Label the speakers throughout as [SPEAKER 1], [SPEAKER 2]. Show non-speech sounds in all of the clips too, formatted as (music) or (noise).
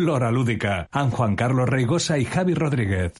[SPEAKER 1] Lora Lúdica, An Juan Carlos Reigosa y Javi Rodríguez.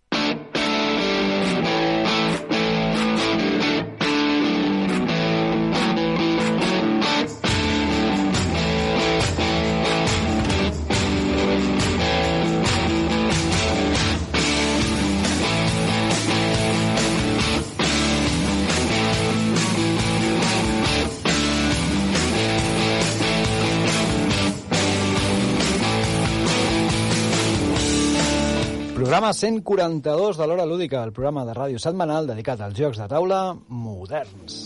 [SPEAKER 2] Programa 142 de l'Hora Lúdica, el programa de ràdio setmanal dedicat als jocs de taula moderns.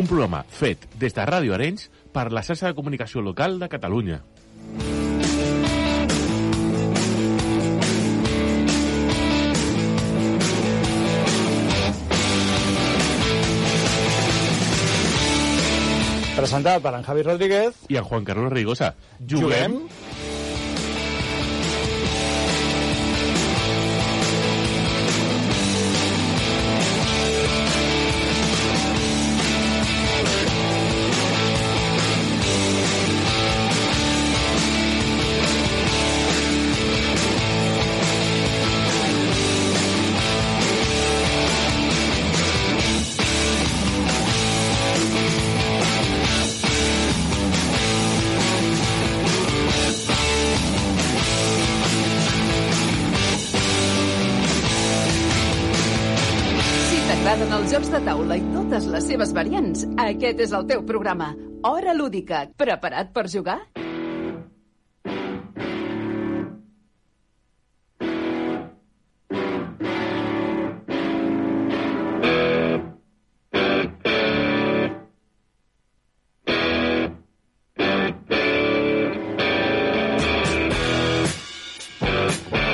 [SPEAKER 3] Un programa fet des de Ràdio Arenys per la xarxa de comunicació local de Catalunya.
[SPEAKER 2] Presentat per en Javi Rodríguez.
[SPEAKER 3] I en Juan Carlos Rigosa. Juguem?
[SPEAKER 4] Si t'agraden els jocs de taula i totes les seves variants, aquest és el teu programa. Hora lúdica. Preparat per jugar?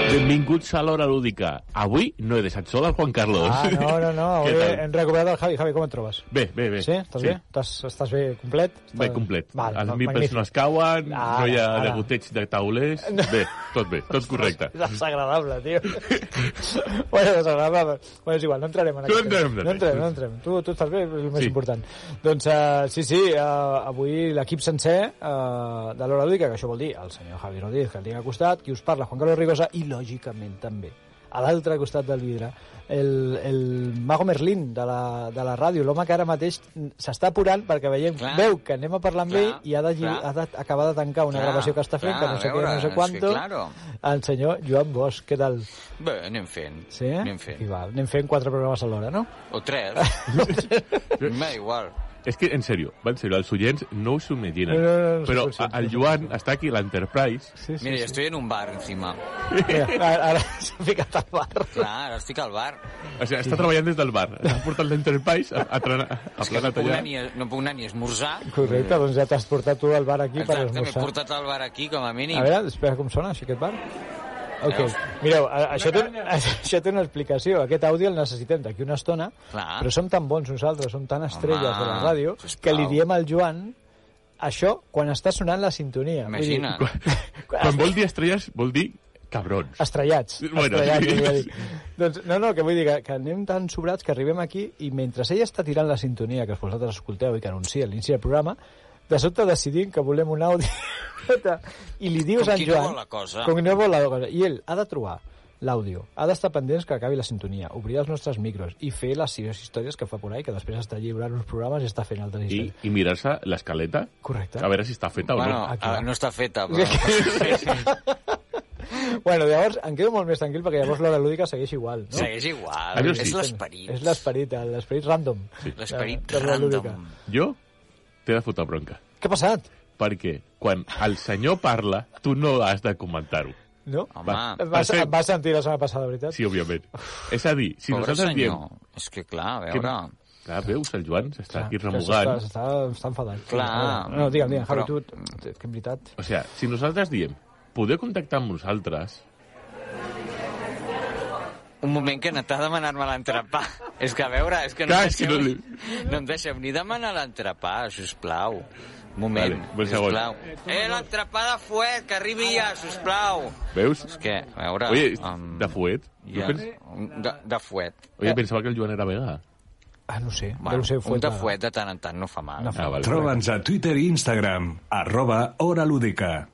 [SPEAKER 3] Benvinguts a l'Hora Lúdica. Avui no he deixat sol el Juan Carlos.
[SPEAKER 2] Ah, no, no, no.
[SPEAKER 3] (laughs) Què
[SPEAKER 2] Avui
[SPEAKER 3] tal?
[SPEAKER 2] hem recuperat el Javi. Javi, com et trobes?
[SPEAKER 3] Bé, bé, bé.
[SPEAKER 2] Sí? Estàs bé? Estàs, estàs bé complet? Estàs...
[SPEAKER 3] Bé complet.
[SPEAKER 2] Val,
[SPEAKER 3] Els
[SPEAKER 2] no,
[SPEAKER 3] mil
[SPEAKER 2] magnífic.
[SPEAKER 3] persones cauen,
[SPEAKER 2] Ara,
[SPEAKER 3] no hi ha
[SPEAKER 2] ara.
[SPEAKER 3] degoteig de taulers... Bé, tot bé, tot correcte.
[SPEAKER 2] Desagradable,
[SPEAKER 3] (laughs)
[SPEAKER 2] tio. bueno, desagradable. Bueno, és igual, no entrarem en
[SPEAKER 3] No
[SPEAKER 2] aquest
[SPEAKER 3] entrem,
[SPEAKER 2] tema.
[SPEAKER 3] no
[SPEAKER 2] No entrem,
[SPEAKER 3] entrem.
[SPEAKER 2] no entrem. Tu, tu estàs bé, és el més
[SPEAKER 3] Sí.
[SPEAKER 2] important. Doncs uh, sí, sí, uh, avui l'equip sencer uh, de l'Hora Lúdica, que això vol dir el senyor Javi Rodríguez, que el tinc al costat, qui us parla, Juan Carlos Rigosa, i lògicament també a l'altre costat del vidre, el, el Mago Merlín de la, de la ràdio, l'home que ara mateix s'està apurant perquè veiem, clar,
[SPEAKER 5] Clar.
[SPEAKER 2] veu que anem a parlar amb
[SPEAKER 5] Clar,
[SPEAKER 2] ell i ha
[SPEAKER 5] clar.
[SPEAKER 2] d'acabar de, tancar una
[SPEAKER 5] Clar,
[SPEAKER 2] gravació que està fent,
[SPEAKER 5] clar,
[SPEAKER 2] que no sé
[SPEAKER 5] a
[SPEAKER 2] què,
[SPEAKER 5] veure,
[SPEAKER 2] no sé
[SPEAKER 5] és que
[SPEAKER 2] quanto,
[SPEAKER 5] claro.
[SPEAKER 2] el senyor Joan Bosch, què tal?
[SPEAKER 5] Bé, anem fent.
[SPEAKER 2] Sí? eh?
[SPEAKER 5] Anem fent.
[SPEAKER 2] I va, anem fent quatre programes alhora, no?
[SPEAKER 5] O tres.
[SPEAKER 2] (laughs)
[SPEAKER 5] M'és igual.
[SPEAKER 3] És que, en sèrio, va, en sèrio, els oients no us ho imaginen.
[SPEAKER 2] No, no, no, no us ho
[SPEAKER 3] Però
[SPEAKER 2] imagino.
[SPEAKER 3] el Joan està aquí a l'Enterprise
[SPEAKER 2] Sí,
[SPEAKER 5] Mira, jo estoy en un bar, encima.
[SPEAKER 2] Mira, ara, ara s'ha ficat al bar.
[SPEAKER 5] Clar, ara estic al bar.
[SPEAKER 3] O sigui, està treballant des del
[SPEAKER 2] (laughs)
[SPEAKER 3] bar. Ha portat l'Enterprise a, a, trenar- a
[SPEAKER 5] És que no
[SPEAKER 3] planat
[SPEAKER 5] puc,
[SPEAKER 3] allà.
[SPEAKER 5] anar ni, a- no puc anar ni a esmorzar.
[SPEAKER 2] Correcte, doncs ja t'has portat tu al bar aquí per
[SPEAKER 5] Exacte, m'he
[SPEAKER 2] esmorzar.
[SPEAKER 5] portat al bar aquí, com a mínim.
[SPEAKER 2] A veure, espera com sona així aquest bar. Ok,
[SPEAKER 5] Veus?
[SPEAKER 2] mireu, a- això té, (laughs) això té una explicació. Aquest àudio el necessitem d'aquí una estona,
[SPEAKER 5] Clar.
[SPEAKER 2] però som tan bons nosaltres, som tan estrelles
[SPEAKER 5] Home,
[SPEAKER 2] de la ràdio,
[SPEAKER 5] sisplau.
[SPEAKER 2] que li diem al Joan això quan està sonant la sintonia. Vull dir,
[SPEAKER 5] Imagina't.
[SPEAKER 3] Quan vol dir estrelles, vol dir cabrons.
[SPEAKER 2] Estrellats.
[SPEAKER 3] Bueno,
[SPEAKER 2] estrellats
[SPEAKER 3] sí.
[SPEAKER 2] volia dir. doncs, no, no, que vull dir que, que anem tan sobrats que arribem aquí i mentre ella està tirant la sintonia que vosaltres escolteu i que anuncia a l'inici del programa, de sobte decidim que volem un àudio (laughs) i li dius
[SPEAKER 5] Com
[SPEAKER 2] a en
[SPEAKER 5] qui no
[SPEAKER 2] Joan...
[SPEAKER 5] vol la cosa.
[SPEAKER 2] Com qui no vol la cosa. I ell ha de trobar l'àudio, ha d'estar pendents que acabi la sintonia, obrir els nostres micros i fer les seves històries que fa por ahí, que després està lliurant uns programes i està fent altres
[SPEAKER 3] I,
[SPEAKER 2] històries.
[SPEAKER 3] i mirar-se l'escaleta
[SPEAKER 2] Correcte.
[SPEAKER 3] a veure si està feta
[SPEAKER 5] Bueno,
[SPEAKER 3] o
[SPEAKER 2] (laughs)
[SPEAKER 3] no.
[SPEAKER 2] Aquí.
[SPEAKER 5] a- no està feta, però...
[SPEAKER 2] Bueno, llavors em quedo molt més tranquil perquè llavors l'hora lúdica segueix igual. No?
[SPEAKER 5] Segueix igual.
[SPEAKER 3] Això sí.
[SPEAKER 5] És l'esperit.
[SPEAKER 2] És l'esperit, el- l'esperit random. Eh,
[SPEAKER 3] Sí.
[SPEAKER 5] L'esperit
[SPEAKER 2] De- de la lúdica.
[SPEAKER 5] random.
[SPEAKER 3] Jo t'he de fotre bronca,
[SPEAKER 2] Què ha passat?
[SPEAKER 3] perquè quan el senyor parla, tu no has de comentar-ho.
[SPEAKER 2] No?
[SPEAKER 5] Home,
[SPEAKER 3] Va.
[SPEAKER 2] Em vas,
[SPEAKER 3] perfecte.
[SPEAKER 2] em vas sentir la setmana passada, veritat?
[SPEAKER 3] Sí, òbviament. És a dir, si
[SPEAKER 5] pobre
[SPEAKER 3] nosaltres
[SPEAKER 5] senyor.
[SPEAKER 3] diem
[SPEAKER 5] És que clar, a
[SPEAKER 3] que,
[SPEAKER 5] veure...
[SPEAKER 3] Clar, veus, el Joan s'està aquí
[SPEAKER 2] Clar,
[SPEAKER 3] remugant.
[SPEAKER 2] S'està s'està enfadat.
[SPEAKER 5] Clar.
[SPEAKER 2] No, digue'm, digue'm, Javi,
[SPEAKER 5] Però-
[SPEAKER 2] tu, tu- que en veritat...
[SPEAKER 3] O sigui, si nosaltres diem, podeu contactar amb nosaltres,
[SPEAKER 5] Un moment que n'està demanant-me l'entrepà. És que a veure, és que no,
[SPEAKER 3] Clar,
[SPEAKER 5] em
[SPEAKER 3] és que
[SPEAKER 5] deixeu,
[SPEAKER 3] no
[SPEAKER 5] no em deixeu ni demanar l'entrepà, sisplau. Un moment,
[SPEAKER 3] Vale, un segon.
[SPEAKER 5] sisplau. Eh, l'entrepà de fuet, que arribi ja, sisplau.
[SPEAKER 3] veus?
[SPEAKER 5] És que, a veure...
[SPEAKER 3] Oye,
[SPEAKER 5] em,
[SPEAKER 3] de fuet. Tu
[SPEAKER 5] ja,
[SPEAKER 3] pens...
[SPEAKER 5] de, de fuet.
[SPEAKER 3] Oye, pensava que el Joan era vegà.
[SPEAKER 2] Ah, no ho sé.
[SPEAKER 5] Bueno,
[SPEAKER 2] deu ser
[SPEAKER 5] un de
[SPEAKER 2] fueta.
[SPEAKER 5] fuet de tant en tant no fa mal.
[SPEAKER 2] No
[SPEAKER 3] Ah, vale.
[SPEAKER 1] Troba'ns a Twitter i Instagram, arroba Hora Lúdica.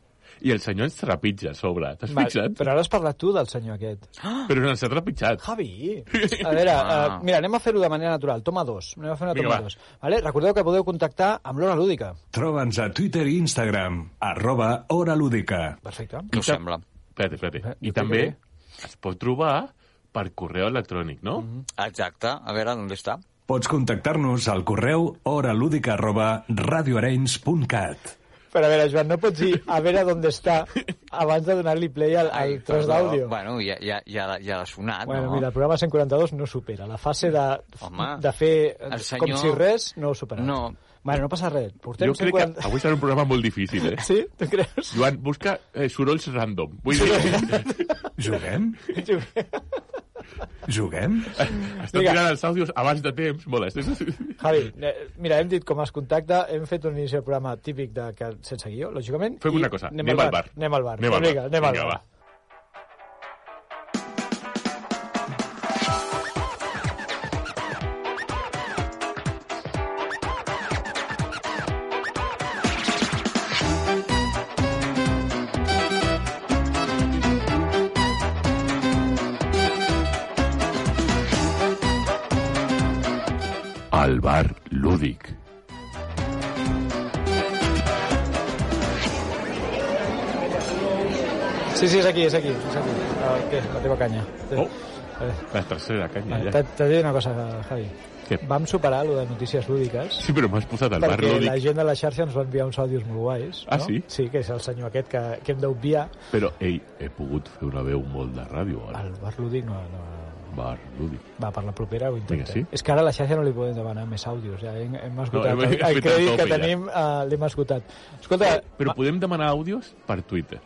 [SPEAKER 3] I el senyor ens trepitja a sobre, t'has
[SPEAKER 2] Val,
[SPEAKER 3] fixat?
[SPEAKER 2] Però ara has parlat tu del senyor aquest.
[SPEAKER 3] Però ens ha trepitjat. (laughs)
[SPEAKER 2] Javi! A veure,
[SPEAKER 5] Ah.
[SPEAKER 2] eh, mira, anem a fer-ho de manera natural. Toma dos. Anem a fer una
[SPEAKER 3] Vinga,
[SPEAKER 2] toma
[SPEAKER 3] va.
[SPEAKER 2] dos. Vale? Recordeu que podeu contactar amb l'Hora Lúdica.
[SPEAKER 1] Troba'ns a Twitter i Instagram, arroba Hora Lúdica.
[SPEAKER 2] Perfecte.
[SPEAKER 5] Què us sembla?
[SPEAKER 3] Espera't, espera't.
[SPEAKER 2] Eh,
[SPEAKER 3] I també es pot trobar per correu electrònic, no?
[SPEAKER 5] Mm-hmm. Exacte. A veure, on està?
[SPEAKER 1] Pots contactar-nos al correu horalúdica arroba radioarenys.cat.
[SPEAKER 2] Però a veure, Joan, no pots dir a veure on està abans de donar-li play al, al tros
[SPEAKER 5] Perdó.
[SPEAKER 2] d'àudio.
[SPEAKER 5] Bueno, ja, ja, ja, l'ha- ja l'ha sonat,
[SPEAKER 2] Bueno,
[SPEAKER 5] Ah, no?
[SPEAKER 2] mira, el programa 142 no supera. La fase de,
[SPEAKER 5] Home,
[SPEAKER 2] de fer eh,
[SPEAKER 5] el
[SPEAKER 2] com
[SPEAKER 5] senyor-
[SPEAKER 2] si res no ho supera.
[SPEAKER 5] No.
[SPEAKER 2] Bueno, no passa res. Portem
[SPEAKER 3] Jo crec que
[SPEAKER 2] 50...
[SPEAKER 3] avui serà un programa molt difícil, eh?
[SPEAKER 2] (laughs) Sí? Tu creus?
[SPEAKER 3] Joan, busca eh, sorolls random. Vull dir, eh,
[SPEAKER 1] Juguem? Juguem?
[SPEAKER 3] estan
[SPEAKER 2] Vinga.
[SPEAKER 3] tirant els àudios abans de temps. Mola, estàs...
[SPEAKER 2] Javi, eh, mira, hem dit com es contacta, hem fet un inici de programa típic de, que, sense guió, lògicament.
[SPEAKER 3] Fem
[SPEAKER 2] i
[SPEAKER 3] una cosa, anem al bar.
[SPEAKER 2] Anem al bar.
[SPEAKER 3] Anem al bar.
[SPEAKER 2] Vinga, anem al
[SPEAKER 3] Vinga,
[SPEAKER 2] bar.
[SPEAKER 3] va. Al bar lúdic.
[SPEAKER 2] Sí, sí, és aquí, és aquí. És aquí. Ah, què? La teva canya.
[SPEAKER 3] Oh.
[SPEAKER 2] Eh,
[SPEAKER 3] La tercera canya,
[SPEAKER 2] T'he
[SPEAKER 3] ja.
[SPEAKER 2] t'he de dir una cosa, Javi.
[SPEAKER 3] Què?
[SPEAKER 2] Vam superar lo de notícies lúdiques
[SPEAKER 3] Sí, però m'has posat al bar
[SPEAKER 2] perquè
[SPEAKER 3] lúdic.
[SPEAKER 2] la gent de la xarxa ens va enviar uns àudios molt guais.
[SPEAKER 3] Ah,
[SPEAKER 2] no?
[SPEAKER 3] sí?
[SPEAKER 2] Sí, que és el senyor aquest que, que hem d'obviar.
[SPEAKER 3] Però, ei, he pogut fer una veu molt de ràdio al
[SPEAKER 2] El bar lúdic no, no...
[SPEAKER 3] bar lúdic.
[SPEAKER 2] Va, per la propera ho intentem.
[SPEAKER 3] Vinga, sí.
[SPEAKER 2] És que ara a la xarxa no li podem demanar més àudios. Ja hem, hem esgotat.
[SPEAKER 3] hem-
[SPEAKER 2] No, el,
[SPEAKER 3] hem fet
[SPEAKER 2] el
[SPEAKER 3] el
[SPEAKER 2] crèdit que
[SPEAKER 3] tope, ja.
[SPEAKER 2] tenim uh, l'hem esgotat. Escolta...
[SPEAKER 3] Però
[SPEAKER 2] va-
[SPEAKER 3] podem demanar àudios per Twitter,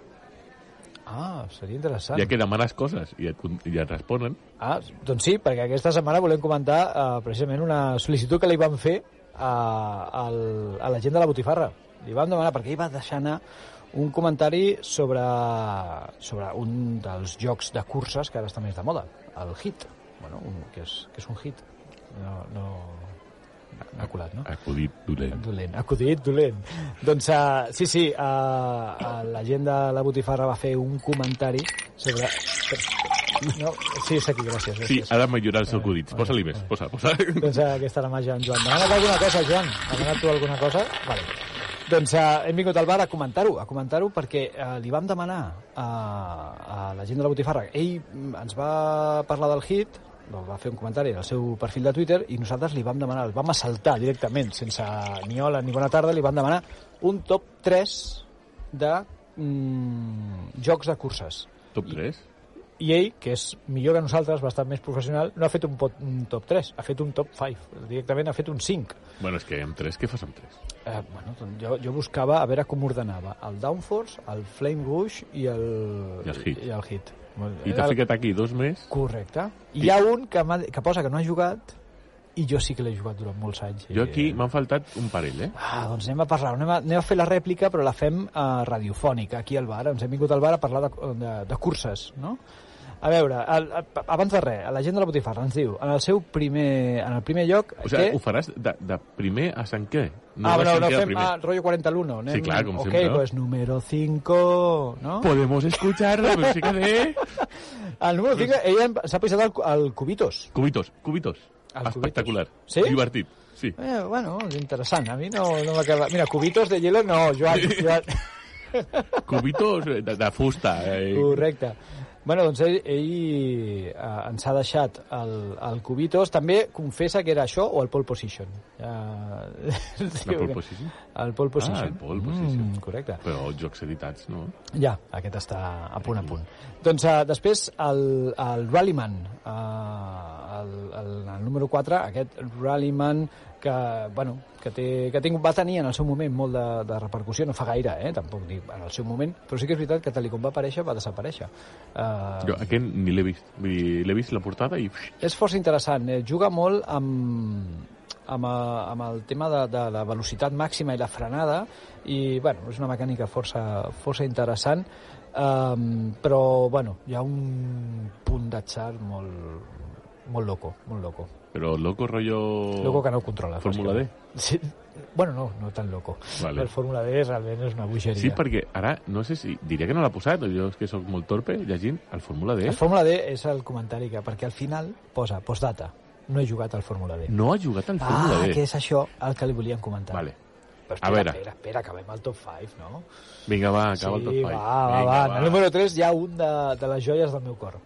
[SPEAKER 2] Ah, seria interessant.
[SPEAKER 3] ja que demanes coses i et, con- i et responen.
[SPEAKER 2] Ah, doncs sí, perquè aquesta setmana volem comentar eh, precisament una sol·licitud que li van fer a, al, a la gent de la Botifarra. Li van demanar, perquè ell va deixar anar un comentari sobre, sobre un dels jocs de curses que ara està més de moda, el hit, bueno, un, que, és, que és un hit. No, no, no ha colat, no?
[SPEAKER 3] Acudit dolent.
[SPEAKER 2] Dolent, acudit, dolent. Doncs uh, sí, sí, uh, la gent de la Botifarra va fer un comentari sobre... No, sí, és aquí, gràcies.
[SPEAKER 3] Sí,
[SPEAKER 2] gràcies.
[SPEAKER 3] ha de millorar els acudits. Posa-li més, posa, posa. (laughs)
[SPEAKER 2] (laughs) Doncs eh, aquesta era màgia en Joan. Demanat alguna cosa, Joan? Demanat tu alguna cosa? Vale. Doncs eh, hem vingut al bar a comentar-ho, a comentar-ho perquè eh, li vam demanar eh, a la gent de la Botifarra. Ell mm, ens va parlar del hit, doncs va fer un comentari al seu perfil de Twitter i nosaltres li vam demanar, el vam assaltar directament, sense ni hola ni bona tarda, li vam demanar un top 3 de mm, jocs de curses
[SPEAKER 3] Top 3?
[SPEAKER 2] i ell, E que és millor que nosaltres, bastant més professional, no ha fet un, pot, un top 3, ha fet un top 5, directament ha fet un 5.
[SPEAKER 3] Bueno, és que amb 3, què fas amb 3?
[SPEAKER 2] Eh, bueno, doncs jo, jo buscava a veure com ordenava el Downforce, el Flame Rush i el,
[SPEAKER 3] I el Hit.
[SPEAKER 2] I el hit.
[SPEAKER 3] I t'ha ficat aquí dos més?
[SPEAKER 2] Correcte. I hi ha un que, m'ha- que posa que no ha jugat i jo sí que l'he jugat durant molts anys.
[SPEAKER 3] Jo aquí m'han faltat un parell, eh?
[SPEAKER 2] Ah, doncs anem a parlar, anem a, anem a fer la rèplica, però la fem eh, radiofònica, aquí al bar. Ens hem vingut al bar a parlar de, de, de curses, no? A veure, el, el, abans de res, la gent de la botifarra ens diu, en el seu primer, en el primer lloc...
[SPEAKER 3] O sigui,
[SPEAKER 2] té-
[SPEAKER 3] ho faràs de, de primer a cinquè. No
[SPEAKER 2] ah,
[SPEAKER 3] de
[SPEAKER 2] bueno, no,
[SPEAKER 3] cinquè a
[SPEAKER 2] fem
[SPEAKER 3] primer.
[SPEAKER 2] ah, rotllo 40 al 1. Anem,
[SPEAKER 3] Sí, clar, com
[SPEAKER 2] ok,
[SPEAKER 3] sempre.
[SPEAKER 2] pues número 5, no? Ah,
[SPEAKER 3] Podemos escuchar la música de...
[SPEAKER 2] El número 5, ella em- s'ha pisat el, cu- el Cubitos.
[SPEAKER 3] Cubitos, Ah, cubitos.
[SPEAKER 2] Al
[SPEAKER 3] Espectacular.
[SPEAKER 2] Cubitos. Sí?
[SPEAKER 3] Divertit. (laughs) Sí.
[SPEAKER 2] Eh, bueno, interessant, a mi no, no m'acaba... Mira, Cubitos de hielo,
[SPEAKER 3] (laughs)
[SPEAKER 2] no, Joan, Joan...
[SPEAKER 3] Cubitos eh, de, de fusta. Eh.
[SPEAKER 2] Correcte. Bueno, doncs ell, ell eh, ens ha deixat el, el Cubitos. També confessa que era això o el pole position. (laughs) Ja...
[SPEAKER 3] La pole position?
[SPEAKER 2] El pole position.
[SPEAKER 3] Ah, el pole position.
[SPEAKER 2] Mm, correcte.
[SPEAKER 3] Però els jocs editats, no?
[SPEAKER 2] Ja, aquest està a punt a punt. Doncs uh, després el, el Rallyman, uh, el, el, el número 4, aquest Rallyman que, bueno, que, té, que tinc, va tenir en el seu moment molt de, de repercussió, no fa gaire, eh, tampoc dic en el seu moment, però sí que és veritat que tal i com va aparèixer va desaparèixer. Uh,
[SPEAKER 3] Jo aquest ni l'he vist. Vull dir, l'he vist la portada i... Uix,
[SPEAKER 2] és força interessant, eh? juga molt amb, amb, eh, amb el tema de, de la velocitat màxima i la frenada i bueno, és una mecànica força, força interessant um, però bueno, hi ha un punt d'atzar molt, molt loco, molt loco.
[SPEAKER 3] Però loco rotllo...
[SPEAKER 2] Loco que no controla.
[SPEAKER 3] Oh. Fórmula D.
[SPEAKER 2] Sí, bueno, no, no tan loco.
[SPEAKER 3] Vale.
[SPEAKER 2] El Fórmula D realment és una bogeria.
[SPEAKER 3] Sí, perquè ara, no sé si... Diria que no l'ha posat, o jo és que sóc molt torpe llegint el Fórmula D.
[SPEAKER 2] El Fórmula D és el comentari que, perquè al final posa postdata, no he jugat al Fórmula D.
[SPEAKER 3] No ha jugat al Fórmula
[SPEAKER 2] Ah,
[SPEAKER 3] D.
[SPEAKER 2] que és això el que li volíem comentar.
[SPEAKER 3] Vale.
[SPEAKER 2] Però
[SPEAKER 3] A
[SPEAKER 2] espera,
[SPEAKER 3] veure.
[SPEAKER 2] espera, espera, acabem el top 5, no?
[SPEAKER 3] Vinga, va, acaba el top
[SPEAKER 2] sí,
[SPEAKER 3] five.
[SPEAKER 2] va, va,
[SPEAKER 3] Vinga,
[SPEAKER 2] va. En el número 3 hi ha un de, de les joies del meu cor.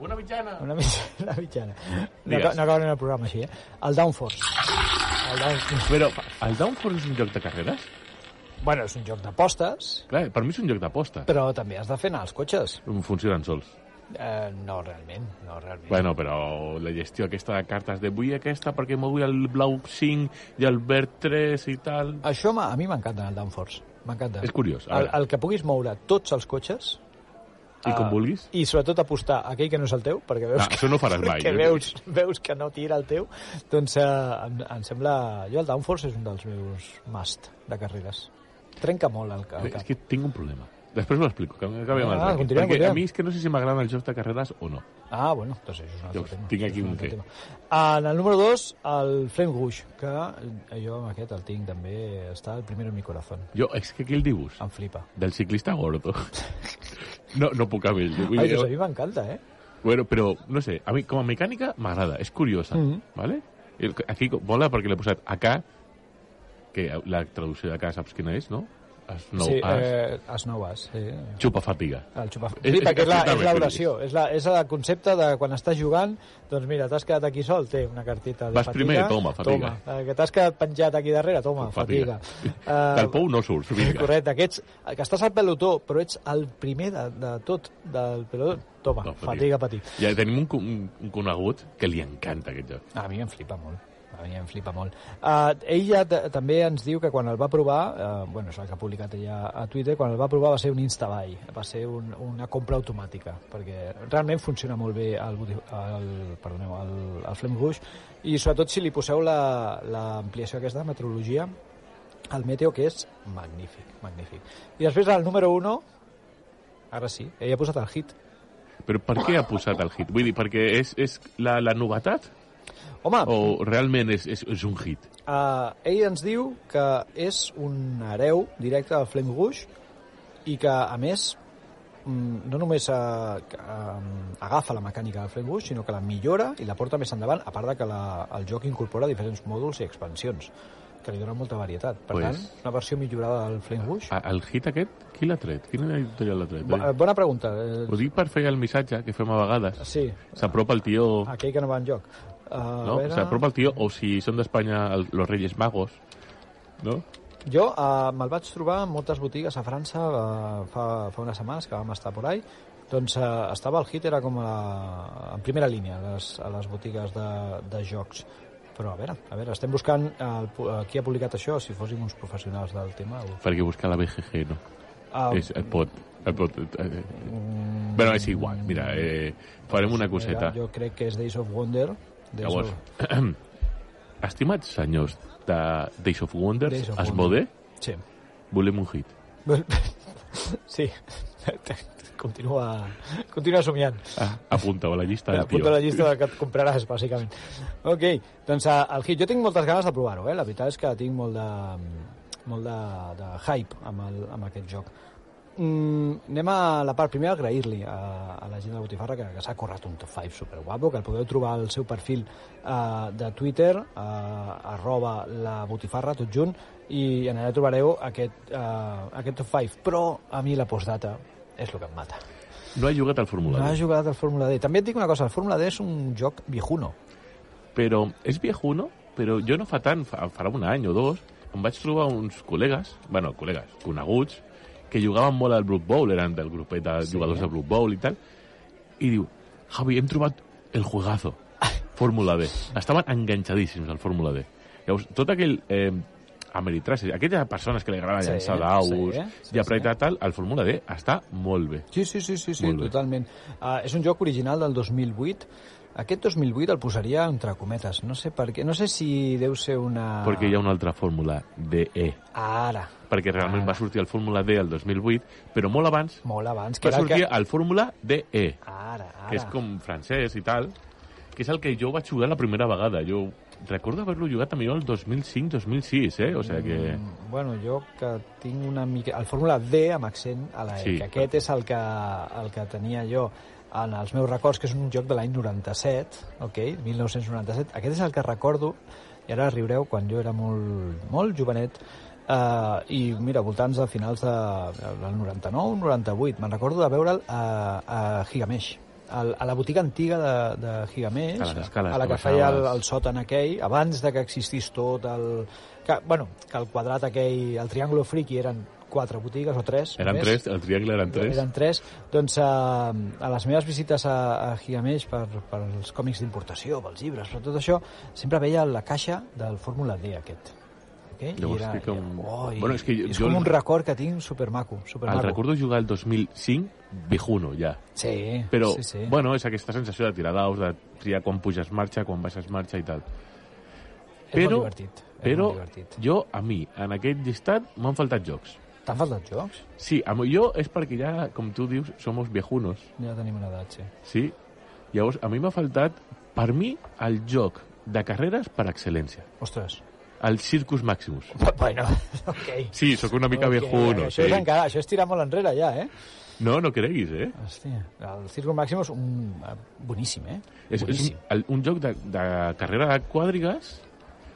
[SPEAKER 3] Una mitjana.
[SPEAKER 2] Una mitjana. (laughs) Una mitjana. No,
[SPEAKER 3] Digues.
[SPEAKER 2] aca- no acabarem el programa així, eh? El Downforce. El Downforce.
[SPEAKER 3] Però el Downforce és un joc de carreres?
[SPEAKER 2] Bueno, és un joc d'apostes,
[SPEAKER 3] Clar, per mi és un joc d'aposta. Mm,
[SPEAKER 2] però també has de fer anar els cotxes.
[SPEAKER 3] Funcionen sols.
[SPEAKER 2] Eh, no, realment. No, realment.
[SPEAKER 3] Bueno, però la gestió aquesta de cartes de vull aquesta perquè m'ho vull el blau 5 i el verd 3 i tal...
[SPEAKER 2] Això m'ha- a mi m'encanta, el Downforce. M'encanta.
[SPEAKER 3] És curiós, a
[SPEAKER 2] El,
[SPEAKER 3] veure.
[SPEAKER 2] el que puguis moure tots els cotxes Ah.
[SPEAKER 3] I com vulguis.
[SPEAKER 2] i sobretot apostar a aquell que no és el teu, perquè veus
[SPEAKER 3] Ah, això no ho (laughs) faràs mai,
[SPEAKER 2] perquè
[SPEAKER 3] eh?
[SPEAKER 2] veus, veus que no tira el teu, doncs eh, em, em sembla... Jo el Downforce és un dels meus must de carreres. Trenca molt el, el
[SPEAKER 3] Bé,
[SPEAKER 2] cap.
[SPEAKER 3] És que tinc un problema. Després m'ho explico, que
[SPEAKER 2] Ah,
[SPEAKER 3] acabem el rànquing.
[SPEAKER 2] continuem,
[SPEAKER 3] Perquè
[SPEAKER 2] continuem.
[SPEAKER 3] a mi és que no sé si m'agraden els jocs de carreres o no.
[SPEAKER 2] Ah, bueno, doncs això és un altre
[SPEAKER 3] Jo
[SPEAKER 2] tema.
[SPEAKER 3] tinc aquí
[SPEAKER 2] és
[SPEAKER 3] un
[SPEAKER 2] altre
[SPEAKER 3] que-
[SPEAKER 2] tema. En el número 2, el Flame Rouge, que jo amb aquest el tinc també, està el primer en mi corazón.
[SPEAKER 3] Jo, és que aquí el dibuix
[SPEAKER 2] Em flipa.
[SPEAKER 3] del ciclista gordo. (laughs) No, no puc amb ell. Vull
[SPEAKER 2] Ai,
[SPEAKER 3] dir,
[SPEAKER 2] doncs a mi m'encanta, eh?
[SPEAKER 3] bueno, però, no sé, a mi com a mecànica m'agrada, és curiosa, ¿vale? El- Aquí vola perquè l'he posat AK, que la traducció d'AK saps quina és, no? Es, no
[SPEAKER 2] sí,
[SPEAKER 3] as,
[SPEAKER 2] eh, es nou as, sí.
[SPEAKER 3] Xupa fatiga.
[SPEAKER 2] El xupaf...
[SPEAKER 3] És-
[SPEAKER 2] Sí,
[SPEAKER 3] és
[SPEAKER 2] perquè és la, és
[SPEAKER 3] exactament
[SPEAKER 2] la
[SPEAKER 3] el que
[SPEAKER 2] oració, és, la, és el concepte de quan estàs jugant, doncs mira, t'has quedat aquí sol, té una carteta de
[SPEAKER 3] Vas
[SPEAKER 2] fatiga.
[SPEAKER 3] primer, toma, fatiga.
[SPEAKER 2] Toma. Eh, que t'has quedat penjat aquí darrere, toma,
[SPEAKER 3] Ah,
[SPEAKER 2] fatiga.
[SPEAKER 3] (laughs)
[SPEAKER 2] Eh,
[SPEAKER 3] Del pou no surts, vinga.
[SPEAKER 2] Correcte, que, ets, que estàs al pelotó, però ets el primer de, de tot del pelotó. Toma,
[SPEAKER 3] No,
[SPEAKER 2] fatiga, patir.
[SPEAKER 3] Ja tenim un, co- un, un conegut que li encanta aquest joc.
[SPEAKER 2] A mi em flipa molt. A mi em flipa molt. Uh, ell ja t- també ens diu que quan el va provar, uh, bueno, és el que ha publicat ja a Twitter, quan el va provar va ser un instabuy, va ser un, una compra automàtica, perquè realment funciona molt bé el, budi- el, perdoneu, el, el Flame Rouge, i sobretot si li poseu la- l'ampliació la, aquesta de metrologia, el Meteo, que és magnífic, magnífic. I després el número 1, ara sí, ell ha posat el hit,
[SPEAKER 3] Però per què ha posat el hit? Vull dir, perquè és, és la, la novetat
[SPEAKER 2] Home,
[SPEAKER 3] o realment és, és, és un hit?
[SPEAKER 2] Uh, ell ens diu que és un hereu directe del Flame Rouge i que, a més, mm, no només uh, um, agafa la mecànica del Flame Rouge, sinó que la millora i la porta més endavant, a part de que la, el joc incorpora diferents mòduls i expansions, que li donen molta varietat. Per
[SPEAKER 3] Pues- Ah,
[SPEAKER 2] pues... tant, una versió millorada del Flame Rouge.
[SPEAKER 3] A- El hit aquest, qui l'ha tret? Quina editorial l'ha tret?
[SPEAKER 2] Bo, eh, bona pregunta. Eh,
[SPEAKER 3] Ho dic per fer el missatge que fem a vegades.
[SPEAKER 2] sí,
[SPEAKER 3] S'apropa el tio...
[SPEAKER 2] aquell que no va enlloc. Uh,
[SPEAKER 3] No? S'apropa el tio, o si són d'Espanya el- los Reyes Magos, no?
[SPEAKER 2] Jo eh, me'l vaig trobar en moltes botigues a França eh, fa, fa unes setmanes que vam estar por ahí. Doncs eh, estava el hit, era com a la, en primera línia a les, a les botigues de, de jocs. Però a veure, a veure, estem buscant eh, el, pu- eh, qui ha publicat això, si fóssim uns professionals del tema. O...
[SPEAKER 3] Perquè buscar la BGG, no?
[SPEAKER 2] Ah,
[SPEAKER 3] És, et pot... Et pot et, et, et. Bueno, és igual, mira, eh, farem una coseta.
[SPEAKER 2] jo crec que és Days of Wonder. Days
[SPEAKER 3] Llavors,
[SPEAKER 2] of...
[SPEAKER 3] (clears throat) estimats senyors de Days of Wonders,
[SPEAKER 2] Days of
[SPEAKER 3] Asmode,
[SPEAKER 2] Sí. (laughs)
[SPEAKER 3] volem un hit.
[SPEAKER 2] sí. (laughs) continua, continua somiant.
[SPEAKER 3] Ah, apunteu a la llista
[SPEAKER 2] Espera,
[SPEAKER 3] del tio.
[SPEAKER 2] apunta la llista del que et compraràs, bàsicament. Ok, doncs eh, el hit. Jo tinc moltes ganes de provar-ho, eh? La veritat és que tinc molt de, molt de, de hype amb, el, amb aquest joc. Mm, anem a la part primera, agrair-li a, a la gent de la Botifarra que, que s'ha currat un top 5 superguapo, que el podeu trobar al seu perfil eh, de Twitter, eh, arroba la Botifarra, tot junt, i en allà trobareu aquest, eh, aquest top 5. Però a mi la postdata és el que em mata.
[SPEAKER 3] No ha jugat al Fórmula
[SPEAKER 2] No ha
[SPEAKER 3] 1.
[SPEAKER 2] jugat al Fórmula D. També et dic una cosa, el Fórmula D és un joc viejuno.
[SPEAKER 3] Però és viejuno, però jo no fa tant, fa, farà un any o dos, em vaig trobar uns col·legues, bueno, col·legues, coneguts, que jugaven molt al Blood Bowl, eren del grupet de jugadors de Blood Bowl i tal, i diu, Javi, hem trobat el juegazo, Fórmula D. Estaven enganxadíssims al Fórmula D. Llavors, tot aquell... Eh, Ameritrash, aquelles persones que li agrada
[SPEAKER 2] Sí,
[SPEAKER 3] llançar daus
[SPEAKER 2] sí, sí,
[SPEAKER 3] i apretar tal, el Fórmula D està molt bé.
[SPEAKER 2] Sí, sí, sí, sí, sí
[SPEAKER 3] Molt bé.
[SPEAKER 2] totalment. Uh, és un joc original del 2008. Aquest 2008 el posaria entre cometes. No sé per què. No sé si deu ser una...
[SPEAKER 3] Perquè hi ha una altra fórmula, DE. E.
[SPEAKER 2] Ara,
[SPEAKER 3] Perquè
[SPEAKER 2] Ah.
[SPEAKER 3] realment va sortir el Fórmula D el 2008, però molt abans
[SPEAKER 2] molt abans. Que
[SPEAKER 3] va
[SPEAKER 2] era el
[SPEAKER 3] sortir
[SPEAKER 2] que...
[SPEAKER 3] el Fórmula DE, que
[SPEAKER 2] Ara, ara.
[SPEAKER 3] és com francès i tal, que és el que jo vaig jugar la primera vegada. Jo recordo haver-lo jugat també jo el 2005-2006, eh? O sigui que...
[SPEAKER 2] Mm, Bueno, jo que tinc una mica... El Fórmula D amb accent a la E,
[SPEAKER 3] Sí.
[SPEAKER 2] que aquest és el que, el que tenia jo en els meus records, que és un joc de l'any 97, ok, 1997. Aquest és el que recordo, i ara riureu, quan jo era molt, molt jovenet, Uh, i mira, voltants de finals de, del 99 98, me'n recordo de veure'l a, a Gigamesh al, a la botiga antiga de, de Gigamesh
[SPEAKER 3] A les escales
[SPEAKER 2] a la
[SPEAKER 3] que
[SPEAKER 2] que feia el,
[SPEAKER 3] baixaves.
[SPEAKER 2] el sòtan aquell, abans de que existís tot el... Que, bueno, que el quadrat aquell, el triangle friki eren quatre botigues o tres.
[SPEAKER 3] Eren
[SPEAKER 2] només.
[SPEAKER 3] tres, el triangle eren tres.
[SPEAKER 2] Eren tres. Doncs a, a les meves visites a, a Gigamesh per, per els còmics d'importació, pels llibres, per tot això, sempre veia la caixa del Fórmula D aquest. Okay?
[SPEAKER 3] Llavors sí que un- Bueno, és que jo-
[SPEAKER 2] és
[SPEAKER 3] jo
[SPEAKER 2] com
[SPEAKER 3] el-
[SPEAKER 2] un record que tinc supermaco.
[SPEAKER 3] El
[SPEAKER 2] supermaco.
[SPEAKER 3] recordo jugar el 2005, viejuno, ja.
[SPEAKER 2] Sí,
[SPEAKER 3] Però,
[SPEAKER 2] sí, sí.
[SPEAKER 3] bueno, és aquesta sensació de tirar daus, de triar quan puges marxa, quan baixes marxa i tal.
[SPEAKER 2] és
[SPEAKER 3] però-
[SPEAKER 2] molt divertit. és
[SPEAKER 3] Però
[SPEAKER 2] molt divertit.
[SPEAKER 3] jo, a mi, en aquest llistat, m'han faltat jocs.
[SPEAKER 2] T'han faltat jocs?
[SPEAKER 3] Sí, a mi- jo és perquè ja, com tu dius, somos viejunos,
[SPEAKER 2] Ja tenim una edat, sí.
[SPEAKER 3] sí? Llavors, a mi m'ha faltat, per mi, el joc de carreres per excel·lència,
[SPEAKER 2] Ostres. (laughs)
[SPEAKER 3] el Circus Maximus.
[SPEAKER 2] Bueno, (laughs) ok.
[SPEAKER 3] Sí, sóc una mica
[SPEAKER 2] Ok,
[SPEAKER 3] viejuno,
[SPEAKER 2] Això
[SPEAKER 3] sí.
[SPEAKER 2] és, encara, això és tirar molt enrere ja, eh?
[SPEAKER 3] No, no creguis, eh?
[SPEAKER 2] Hòstia, el Circo Màximo és un... eh, boníssim, eh?
[SPEAKER 3] És, és
[SPEAKER 2] boníssim.
[SPEAKER 3] un, el- un joc de, de carrera de quadrigues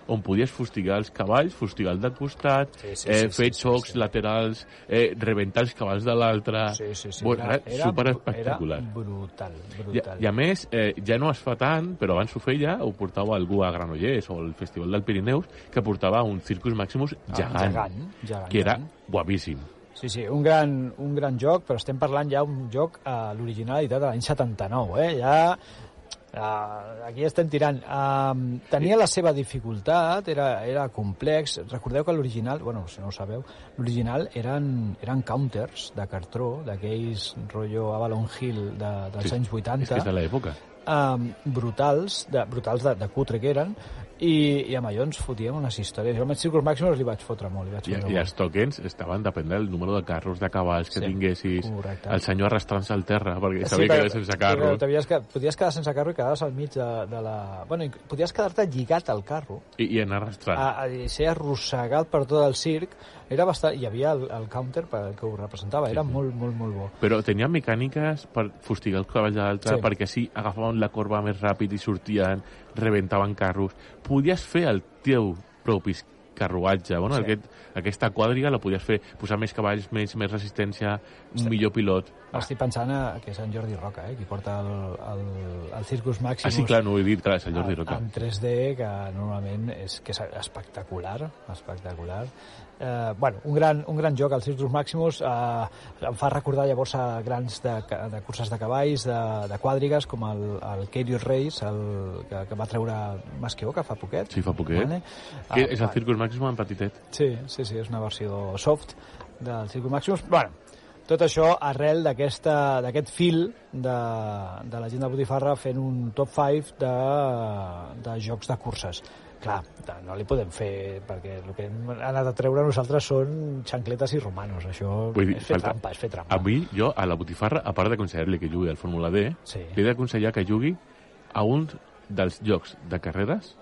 [SPEAKER 3] on podies fustigar els cavalls, fustigar el de costat,
[SPEAKER 2] Sí, sí,
[SPEAKER 3] eh,
[SPEAKER 2] sí, sí,
[SPEAKER 3] fer
[SPEAKER 2] sí,
[SPEAKER 3] xocs
[SPEAKER 2] sí.
[SPEAKER 3] laterals, eh, rebentar els cavalls de l'altre...
[SPEAKER 2] Sí, sí, sí.
[SPEAKER 3] Bueno, era, superespectacular.
[SPEAKER 2] Era brutal,
[SPEAKER 3] I,
[SPEAKER 2] brutal.
[SPEAKER 3] I a més, eh, ja no es fa tant, però abans ho feia, ho portava algú a Granollers o al Festival del Pirineus, que portava un Circus Maximus
[SPEAKER 2] Ah,
[SPEAKER 3] gegant,
[SPEAKER 2] gegant, gegant,
[SPEAKER 3] que era
[SPEAKER 2] gegant.
[SPEAKER 3] guapíssim.
[SPEAKER 2] Sí, sí, un gran, un gran joc, però estem parlant ja un joc a eh, l'originalitat de l'any 79, eh? Ja... Uh, aquí estem tirant. Uh, tenia la seva dificultat, era, era complex. Recordeu que l'original, bueno, si no ho sabeu, l'original eren, eren counters de cartró, d'aquells rotllo Avalon Hill de, dels
[SPEAKER 3] Sí,
[SPEAKER 2] anys 80
[SPEAKER 3] És que és de l'època.
[SPEAKER 2] um, brutals, de, brutals de, de cutre que eren, i, i amb allò ens fotíem unes històries. Jo amb els Circus Maximus li vaig fotre molt, li vaig
[SPEAKER 3] I,
[SPEAKER 2] fotre
[SPEAKER 3] I els
[SPEAKER 2] molt.
[SPEAKER 3] tokens estaven depèn del número de carros, de cavalls que
[SPEAKER 2] Sí,
[SPEAKER 3] tinguessis,
[SPEAKER 2] correcte.
[SPEAKER 3] el senyor arrastrant-se al terra perquè sabia que era sense carro.
[SPEAKER 2] Però t'havies quedat- podies quedar sense carro i quedaves al mig de, de la... Bueno, i podies quedar-te lligat al carro,
[SPEAKER 3] I, i anar arrastrant.
[SPEAKER 2] a, a ser arrossegat per tot el circ. Era bastant... Hi havia el, el counter per que ho representava, era molt, molt, molt bo.
[SPEAKER 3] Però tenia mecàniques per fustigar el cavall de l'altre,
[SPEAKER 2] Sí.
[SPEAKER 3] sí. perquè si agafaven la corba més ràpid i sortien, rebentaven carros. Podies fer el teu propi carruatge, bueno,
[SPEAKER 2] Sí.
[SPEAKER 3] sí. aquest, aquesta quadriga la podies fer, posar més cavalls, més, més resistència, un millor pilot.
[SPEAKER 2] Estic pensant a, que és en Jordi Roca, eh, qui porta el, el, el Circus Maximus.
[SPEAKER 3] Ah, sí, clar, no ho he dit, clar, és el Jordi
[SPEAKER 2] en-
[SPEAKER 3] Roca.
[SPEAKER 2] Ah, En 3D, que normalment és, que és espectacular, espectacular. Eh, bueno, un gran, un gran joc, el Circus Maximus, eh, em fa recordar llavors a grans de, ca- de curses de cavalls, de, de quadrigues, com el, el Kerios Reis, el, que, que va treure Masqueoca fa poquet.
[SPEAKER 3] Sí, fa poquet.
[SPEAKER 2] Ah,
[SPEAKER 3] Que és el
[SPEAKER 2] va-
[SPEAKER 3] Circus Maximum en petitet.
[SPEAKER 2] Sí, sí, sí, és una versió soft del Circuit Maximus. Bueno, tot això arrel d'aquesta- d'aquest fil de, de la gent de Botifarra fent un top 5 de, de jocs de curses. Clar, de- no li podem fer, perquè el que hem anat a treure nosaltres són xancletes i romanos. Això
[SPEAKER 3] Vull dir,
[SPEAKER 2] és fer
[SPEAKER 3] falta-
[SPEAKER 2] trampa, és fer trampa.
[SPEAKER 3] A mi, jo, a la botifarra, a part d'aconsellar-li que jugui al Fórmula D,
[SPEAKER 2] Sí.
[SPEAKER 3] li he d'aconsellar que jugui a un dels jocs de carreres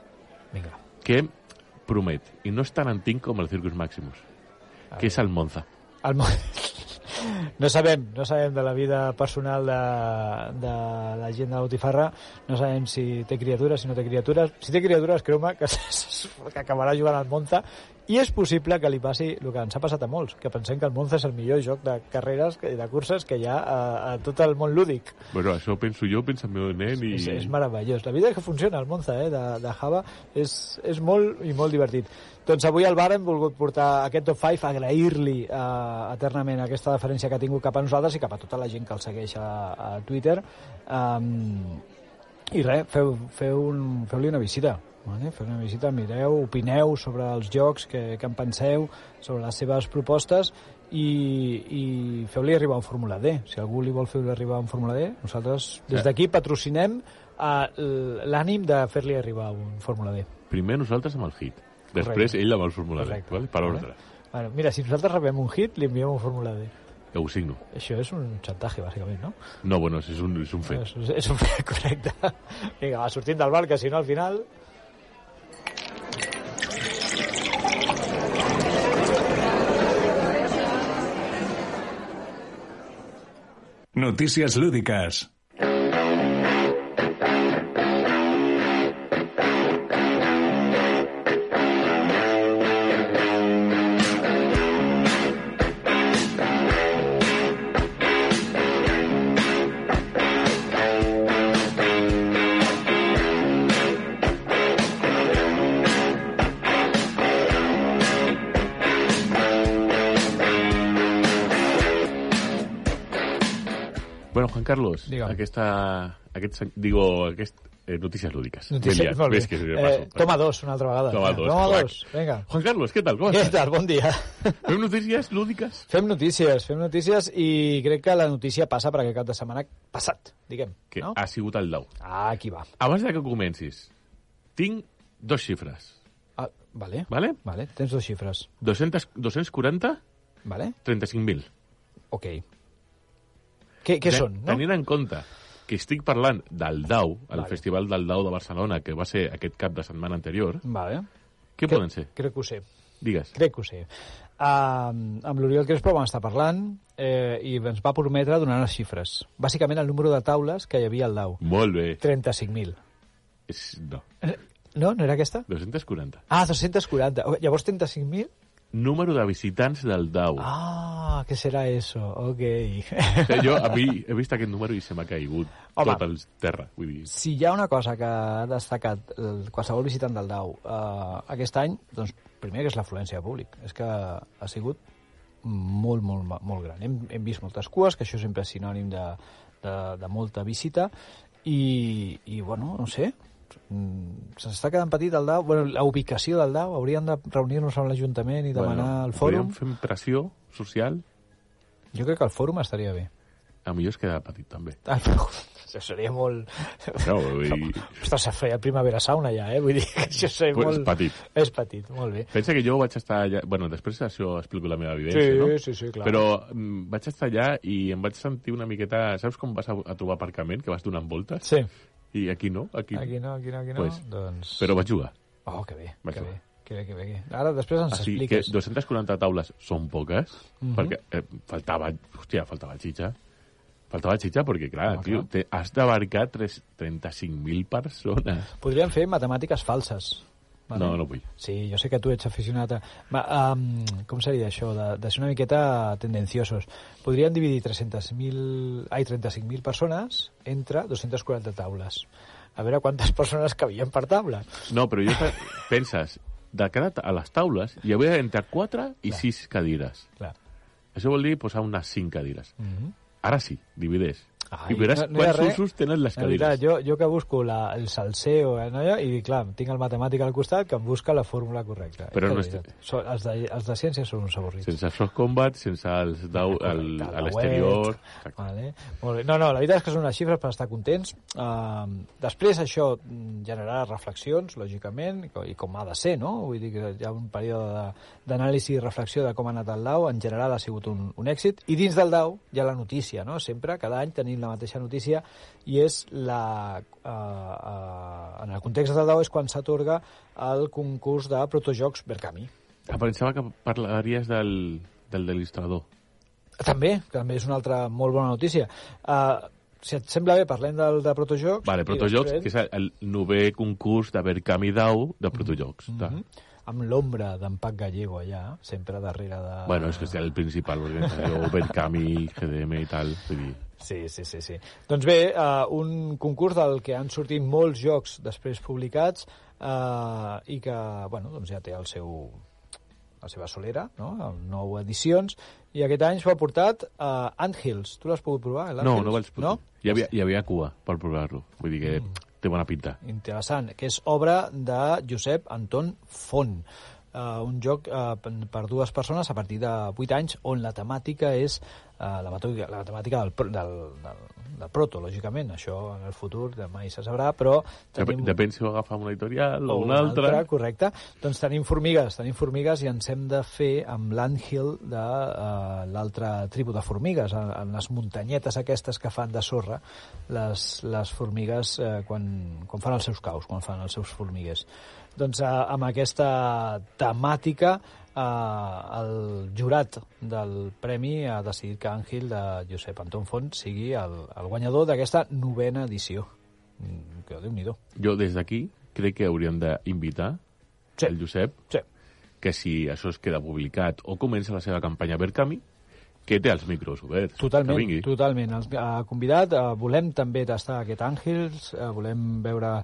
[SPEAKER 2] Vinga.
[SPEAKER 3] que promet, i no és tan antic com el Circus Maximus,
[SPEAKER 2] Ah,
[SPEAKER 3] que és el Monza.
[SPEAKER 2] El món... (laughs) No sabem, no sabem de la vida personal de, de la gent de Botifarra, no sabem (laughs) si té criatures, si no té criatures. Si té criatures, creu-me que, s- s- que acabarà jugant al Monza I és possible que li passi el que ens ha passat a molts, que pensem que el Monza és el millor joc de carreres, que- de curses que hi ha a, a tot el món lúdic.
[SPEAKER 3] Bueno, això ho penso jo, pensa el meu nen i...
[SPEAKER 2] És, és meravellós. La vida que funciona al Monza, eh, de, de Java, és, és molt i molt divertit. Doncs avui al bar hem volgut portar aquest top 5, agrair-li eh, eternament aquesta deferència que ha tingut cap a nosaltres i cap a tota la gent que el segueix a, a Twitter. Um, I res, feu, feu un, feu-li una visita. Vale? Feu una visita, mireu, opineu sobre els jocs, que, que en penseu, sobre les seves propostes i, i feu-li arribar un Fórmula D. Si algú li vol fer arribar un Fórmula D, nosaltres des d'aquí patrocinem eh, l- l'ànim de fer-li arribar un Fórmula D.
[SPEAKER 3] Primer nosaltres amb el hit. Després
[SPEAKER 2] Correcte.
[SPEAKER 3] ell amb el formular,
[SPEAKER 2] Correcte.
[SPEAKER 3] vale? per
[SPEAKER 2] Vale.
[SPEAKER 3] ordre.
[SPEAKER 2] Bueno, mira, si nosaltres rebem un hit, li enviem un Fórmula D.
[SPEAKER 3] Jo ho signo.
[SPEAKER 2] Això és un xantatge, bàsicament, no?
[SPEAKER 3] No, bueno, és un, és un fet.
[SPEAKER 2] És, és un (laughs) fet correcte. Vinga, va, sortim del bar, que si no al final...
[SPEAKER 1] Noticias lúdicas.
[SPEAKER 3] Bueno, Juan Carlos,
[SPEAKER 2] Digue'm.
[SPEAKER 3] aquesta... Aquest, sen- digo, aquest, eh, notícies lúdiques. M'he
[SPEAKER 2] Notícies,
[SPEAKER 3] liat.
[SPEAKER 2] molt bé.
[SPEAKER 3] Ves que
[SPEAKER 2] eh,
[SPEAKER 3] passo.
[SPEAKER 2] toma dos, una altra vegada.
[SPEAKER 3] Toma
[SPEAKER 2] Vinga,
[SPEAKER 3] dos,
[SPEAKER 2] Toma
[SPEAKER 3] crac.
[SPEAKER 2] dos, vinga.
[SPEAKER 3] Juan Carlos, què tal? Com
[SPEAKER 2] Què
[SPEAKER 3] estàs?
[SPEAKER 2] tal? Bon dia. (laughs)
[SPEAKER 3] Fem notícies lúdiques?
[SPEAKER 2] Fem notícies, fem notícies i crec que la notícia passa per aquest cap de setmana passat, diguem.
[SPEAKER 3] Que
[SPEAKER 2] no?
[SPEAKER 3] ha sigut el 10.
[SPEAKER 2] Ah, aquí va.
[SPEAKER 3] Abans de que comencis, tinc dos xifres,
[SPEAKER 2] Ah, vale.
[SPEAKER 3] vale?
[SPEAKER 2] Vale, tens dos xifres.
[SPEAKER 3] 200, 240,
[SPEAKER 2] Vale?
[SPEAKER 3] 35.000.
[SPEAKER 2] Ok. Què, què
[SPEAKER 3] Te-
[SPEAKER 2] són, no?
[SPEAKER 3] Tenint en compte que estic parlant del Dau, el
[SPEAKER 2] Vale.
[SPEAKER 3] Festival del Dau de Barcelona, que va ser aquest cap de setmana anterior,
[SPEAKER 2] Vale.
[SPEAKER 3] què
[SPEAKER 2] Cre-
[SPEAKER 3] poden ser?
[SPEAKER 2] Crec que ho sé.
[SPEAKER 3] Digues.
[SPEAKER 2] Crec que ho sé. Uh, amb l'Oriol Crespo vam estar parlant eh, i ens va prometre donar les xifres. Bàsicament el número de taules que hi havia al DAU.
[SPEAKER 3] Molt bé.
[SPEAKER 2] 35.000.
[SPEAKER 3] És, no,
[SPEAKER 2] No? No era aquesta?
[SPEAKER 3] 240.
[SPEAKER 2] Ah, 240. Oh, Llavors 35.000?
[SPEAKER 3] Número de visitants del Dau.
[SPEAKER 2] Ah, què serà eso? Ok. (laughs)
[SPEAKER 3] O sigui, jo a mi he vist aquest número i se m'ha caigut
[SPEAKER 2] Home.
[SPEAKER 3] tot el terra. Vull dir,
[SPEAKER 2] si hi ha una cosa que ha destacat el, qualsevol visitant del DAU eh, aquest any, doncs primer que és l'afluència de públic. És que ha sigut molt, molt, ma- molt gran. Hem, hem vist moltes cues, que això sempre és sinònim de, de, de molta visita, i, i bueno, no sé, mm, se'ns està quedant petit el DAU, bueno, la ubicació del DAU, hauríem de reunir-nos amb l'Ajuntament i demanar bueno, el fòrum.
[SPEAKER 3] podríem fer pressió social,
[SPEAKER 2] Jo crec que el fòrum estaria bé.
[SPEAKER 3] a millor es queda petit també.
[SPEAKER 2] Ah, però, això seria molt...
[SPEAKER 3] No,
[SPEAKER 2] (laughs)
[SPEAKER 3] vull dir,
[SPEAKER 2] Ostres, se feia primavera sauna ja, eh? Vull dir que això seria
[SPEAKER 3] Pues,
[SPEAKER 2] molt...
[SPEAKER 3] és petit.
[SPEAKER 2] És petit, molt bé.
[SPEAKER 3] Pensa que jo vaig estar allà... Bueno, després això explico la meva
[SPEAKER 2] Sí,
[SPEAKER 3] vivència, no?
[SPEAKER 2] sí, sí, clar.
[SPEAKER 3] Però mm, vaig estar allà i em vaig sentir una miqueta... Saps com vas a, a trobar aparcament, que vas donant voltes?
[SPEAKER 2] Sí.
[SPEAKER 3] I aquí no, aquí...
[SPEAKER 2] Aquí no, aquí no, aquí no.
[SPEAKER 3] Pues,
[SPEAKER 2] doncs...
[SPEAKER 3] Però vaig jugar.
[SPEAKER 2] Oh, que bé,
[SPEAKER 3] Vaig
[SPEAKER 2] que
[SPEAKER 3] jugar.
[SPEAKER 2] bé. Que bé, que bé, que bé. Ara després ens
[SPEAKER 3] Així que
[SPEAKER 2] expliques. Mhm.
[SPEAKER 3] 240 taules són poques, perquè eh, faltava... Hòstia, faltava xitxa. Faltava xitxa perquè, clar,
[SPEAKER 2] Home,
[SPEAKER 3] tio, te, has d'abarcar tres- 35.000 persones.
[SPEAKER 2] Podríem fer matemàtiques falses. Vale?
[SPEAKER 3] No, no vull.
[SPEAKER 2] Sí, jo sé que tu ets aficionat a... Ma, um, com seria això? De, de ser una miqueta tendenciosos. Podríem dividir 300.000... Ai, 35.000 persones entre 240 taules. A veure quantes (laughs) persones cabien per taula.
[SPEAKER 3] No, però jo pe- penses, de cada ta- a les taules hi havia entre 4 i 6 cadires.
[SPEAKER 2] Clar.
[SPEAKER 3] Això vol dir posar unes 5 cadires. Ara sí, divideix.
[SPEAKER 2] Mm-hmm. Ai,
[SPEAKER 3] I veràs
[SPEAKER 2] hi ha
[SPEAKER 3] quants
[SPEAKER 2] res.
[SPEAKER 3] usos tenen les
[SPEAKER 2] La veritat,
[SPEAKER 3] cadires.
[SPEAKER 2] jo, jo que busco la, el salseo eh, no, i dic, clar, tinc el matemàtic al costat que em busca la fórmula correcta.
[SPEAKER 3] Però
[SPEAKER 2] És
[SPEAKER 3] no
[SPEAKER 2] la
[SPEAKER 3] és-
[SPEAKER 2] veritat. So, els, de, els de ciència són uns avorrits.
[SPEAKER 3] Sense els soft combat, sense els dau
[SPEAKER 2] Correcte,
[SPEAKER 3] al,
[SPEAKER 2] la
[SPEAKER 3] a
[SPEAKER 2] web.
[SPEAKER 3] l'exterior... Exacte.
[SPEAKER 2] Vale. Molt bé. No, no, la veritat és que són unes xifres per estar contents. Uh, després això mm, generarà reflexions, lògicament, i co- i com ha de ser, no? Vull dir que hi ha un període de- d'anàlisi i reflexió de com ha anat el DAO. En general ha sigut un, un èxit. I dins del DAO hi ha la notícia, no? Sempre, cada any tenim la mateixa notícia i és la... Uh, uh, en el context del DAO és quan s'atorga el concurs de protojocs Berkami.
[SPEAKER 3] Ah, pensava que parlaries del, del de l'il·lustrador.
[SPEAKER 2] També, també és una altra molt bona notícia. Uh, si et sembla bé, parlem del de Protojocs.
[SPEAKER 3] Vale,
[SPEAKER 2] i
[SPEAKER 3] Protojocs,
[SPEAKER 2] després- Mm-hmm.
[SPEAKER 3] que és el novè concurs de Berkami Dau de Protojocs. Mm -hmm.
[SPEAKER 2] amb l'ombra d'en Pac Gallego allà, sempre darrere de...
[SPEAKER 3] Bueno, és que és el principal,
[SPEAKER 2] (laughs)
[SPEAKER 3] organització, Bergkamp i GDM i tal. Vull dir,
[SPEAKER 2] Sí, sí, sí, sí. Doncs bé, uh, un concurs del que han sortit molts jocs després publicats uh, i que, bueno, doncs ja té el seu, la seva solera, no? Amb nou edicions. I aquest any s'ho ha portat uh, Ant Hills. Tu l'has pogut provar, l'Ant
[SPEAKER 3] No,
[SPEAKER 2] Hills?
[SPEAKER 3] no vaig poder. No? Hi, havia, hi havia cua per provar-lo. Vull dir que mm. té bona pinta.
[SPEAKER 2] Interessant, que és obra de Josep Anton Font. Uh, un joc uh, per dues persones a partir de 8 anys on la temàtica és uh, la, matòrica- la temàtica del, pro- del, del, del proto, lògicament. Això en el futur mai se sabrà, però
[SPEAKER 3] Tenim...
[SPEAKER 2] tenim...
[SPEAKER 3] Depèn si ho agafa amb una editorial o
[SPEAKER 2] o
[SPEAKER 3] una altra.
[SPEAKER 2] correcte. Doncs tenim formigues, tenim formigues i ens hem de fer amb l'Anhill de uh, l'altra tribu de formigues, en, en les muntanyetes aquestes que fan de sorra les, les formigues uh, quan, quan fan els seus caus, quan fan els seus formiguers. Doncs uh, amb aquesta temàtica eh, el jurat del premi ha decidit que Àngel de Josep Anton Font sigui el, el guanyador d'aquesta novena edició. Mm, que Déu-n'hi-do.
[SPEAKER 3] Jo des d'aquí crec que hauríem d'invitar
[SPEAKER 2] Sí.
[SPEAKER 3] sí. el Josep,
[SPEAKER 2] Sí.
[SPEAKER 3] que si això es queda publicat o comença la seva campanya per camí, que té els micros oberts. Que
[SPEAKER 2] Totalment,
[SPEAKER 3] vingui.
[SPEAKER 2] totalment. Els ha convidat, eh, volem també tastar aquest Àngels, eh, volem veure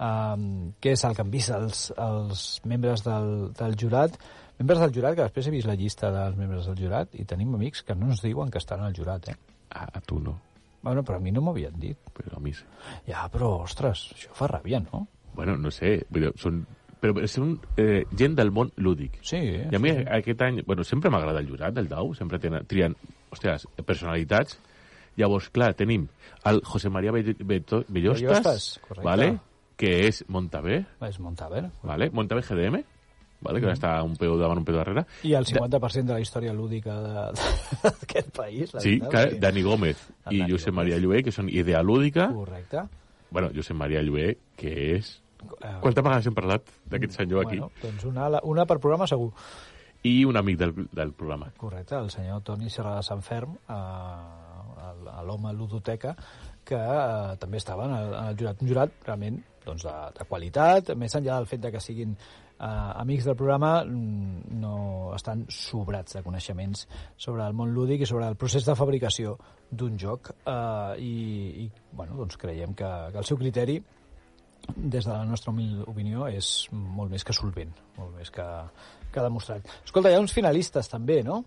[SPEAKER 2] eh, què és el que han vist els, els membres del, del jurat. Membres del jurat, que després he vist la llista dels membres del jurat, i tenim amics que no ens diuen que estan al jurat, eh?
[SPEAKER 3] A, a tu no,
[SPEAKER 2] Bueno, però a mi no m'ho havien dit.
[SPEAKER 3] però a mi sí.
[SPEAKER 2] Ja, però, ostres, això fa ràbia, no?
[SPEAKER 3] Bueno, no sé, però són, però són eh, gent del món lúdic.
[SPEAKER 2] Sí, eh?
[SPEAKER 3] I a mi aquest any, bueno, sempre m'agrada el jurat, el DAU, sempre tenen, trien, hòsties, personalitats. Llavors, clar, tenim el José María Be- Beto- Bellostas,
[SPEAKER 2] Bellostas, correcte.
[SPEAKER 3] ¿vale? que és Montaver,
[SPEAKER 2] És Montaver.
[SPEAKER 3] ¿vale? Montaver GDM, ¿vale? que mm. està un peu davant, un peu darrere.
[SPEAKER 2] I el 50% de la història lúdica de- d'aquest país, la
[SPEAKER 3] Sí,
[SPEAKER 2] veritat.
[SPEAKER 3] clar,
[SPEAKER 2] perquè-
[SPEAKER 3] Dani Gómez
[SPEAKER 2] El
[SPEAKER 3] i
[SPEAKER 2] Ah, Dani Gómez.
[SPEAKER 3] Josep Maria Llué, que són idea lúdica.
[SPEAKER 2] Correcte.
[SPEAKER 3] Bueno, Josep Maria Llué, que és...
[SPEAKER 2] Eh,
[SPEAKER 3] Quantes vegades hem parlat d'aquest senyor aquí?
[SPEAKER 2] Bueno, doncs una, una per programa segur.
[SPEAKER 3] I un amic del, del programa.
[SPEAKER 2] Correcte, el senyor Toni Serra de Sant Ferm, eh, l'home ludoteca, que eh, també estava en el, en el jurat. Un jurat realment doncs, de, de qualitat, més enllà del fet de que siguin eh, amics del programa, mm, no estan sobrats de coneixements sobre el món lúdic i sobre el procés de fabricació d'un joc. Eh, I i bueno, doncs creiem que, que el seu criteri des de la nostra humil opinió, és molt més que solvent, molt més que, que demostrat. Escolta, hi ha uns finalistes també, no?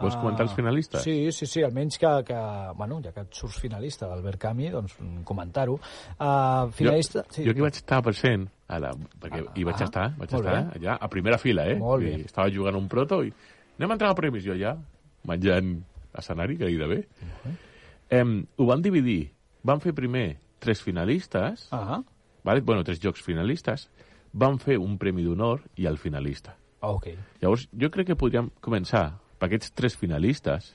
[SPEAKER 3] Vols comentar els finalistes?
[SPEAKER 2] Ah, Sí, sí, sí, almenys que, que bueno, ja que et surts finalista d'Albert Camí, doncs mm, comentar-ho. Uh, finalista...
[SPEAKER 3] Jo, jo que vaig estar present, a la, perquè hi vaig
[SPEAKER 2] ah,
[SPEAKER 3] estar, vaig
[SPEAKER 2] molt
[SPEAKER 3] estar
[SPEAKER 2] bé.
[SPEAKER 3] allà, a primera fila, eh?
[SPEAKER 2] Molt
[SPEAKER 3] I
[SPEAKER 2] bé.
[SPEAKER 3] Estava jugant un proto i anem a entrar a premis, jo allà, menjant escenari, que gairebé. Em, ho van dividir. Van fer primer tres finalistes,
[SPEAKER 2] Ah,
[SPEAKER 3] vale? bueno, tres jocs finalistes, van fer un premi d'honor i el finalista.
[SPEAKER 2] Ah, ok.
[SPEAKER 3] Llavors, jo crec que podríem començar per aquests tres finalistes,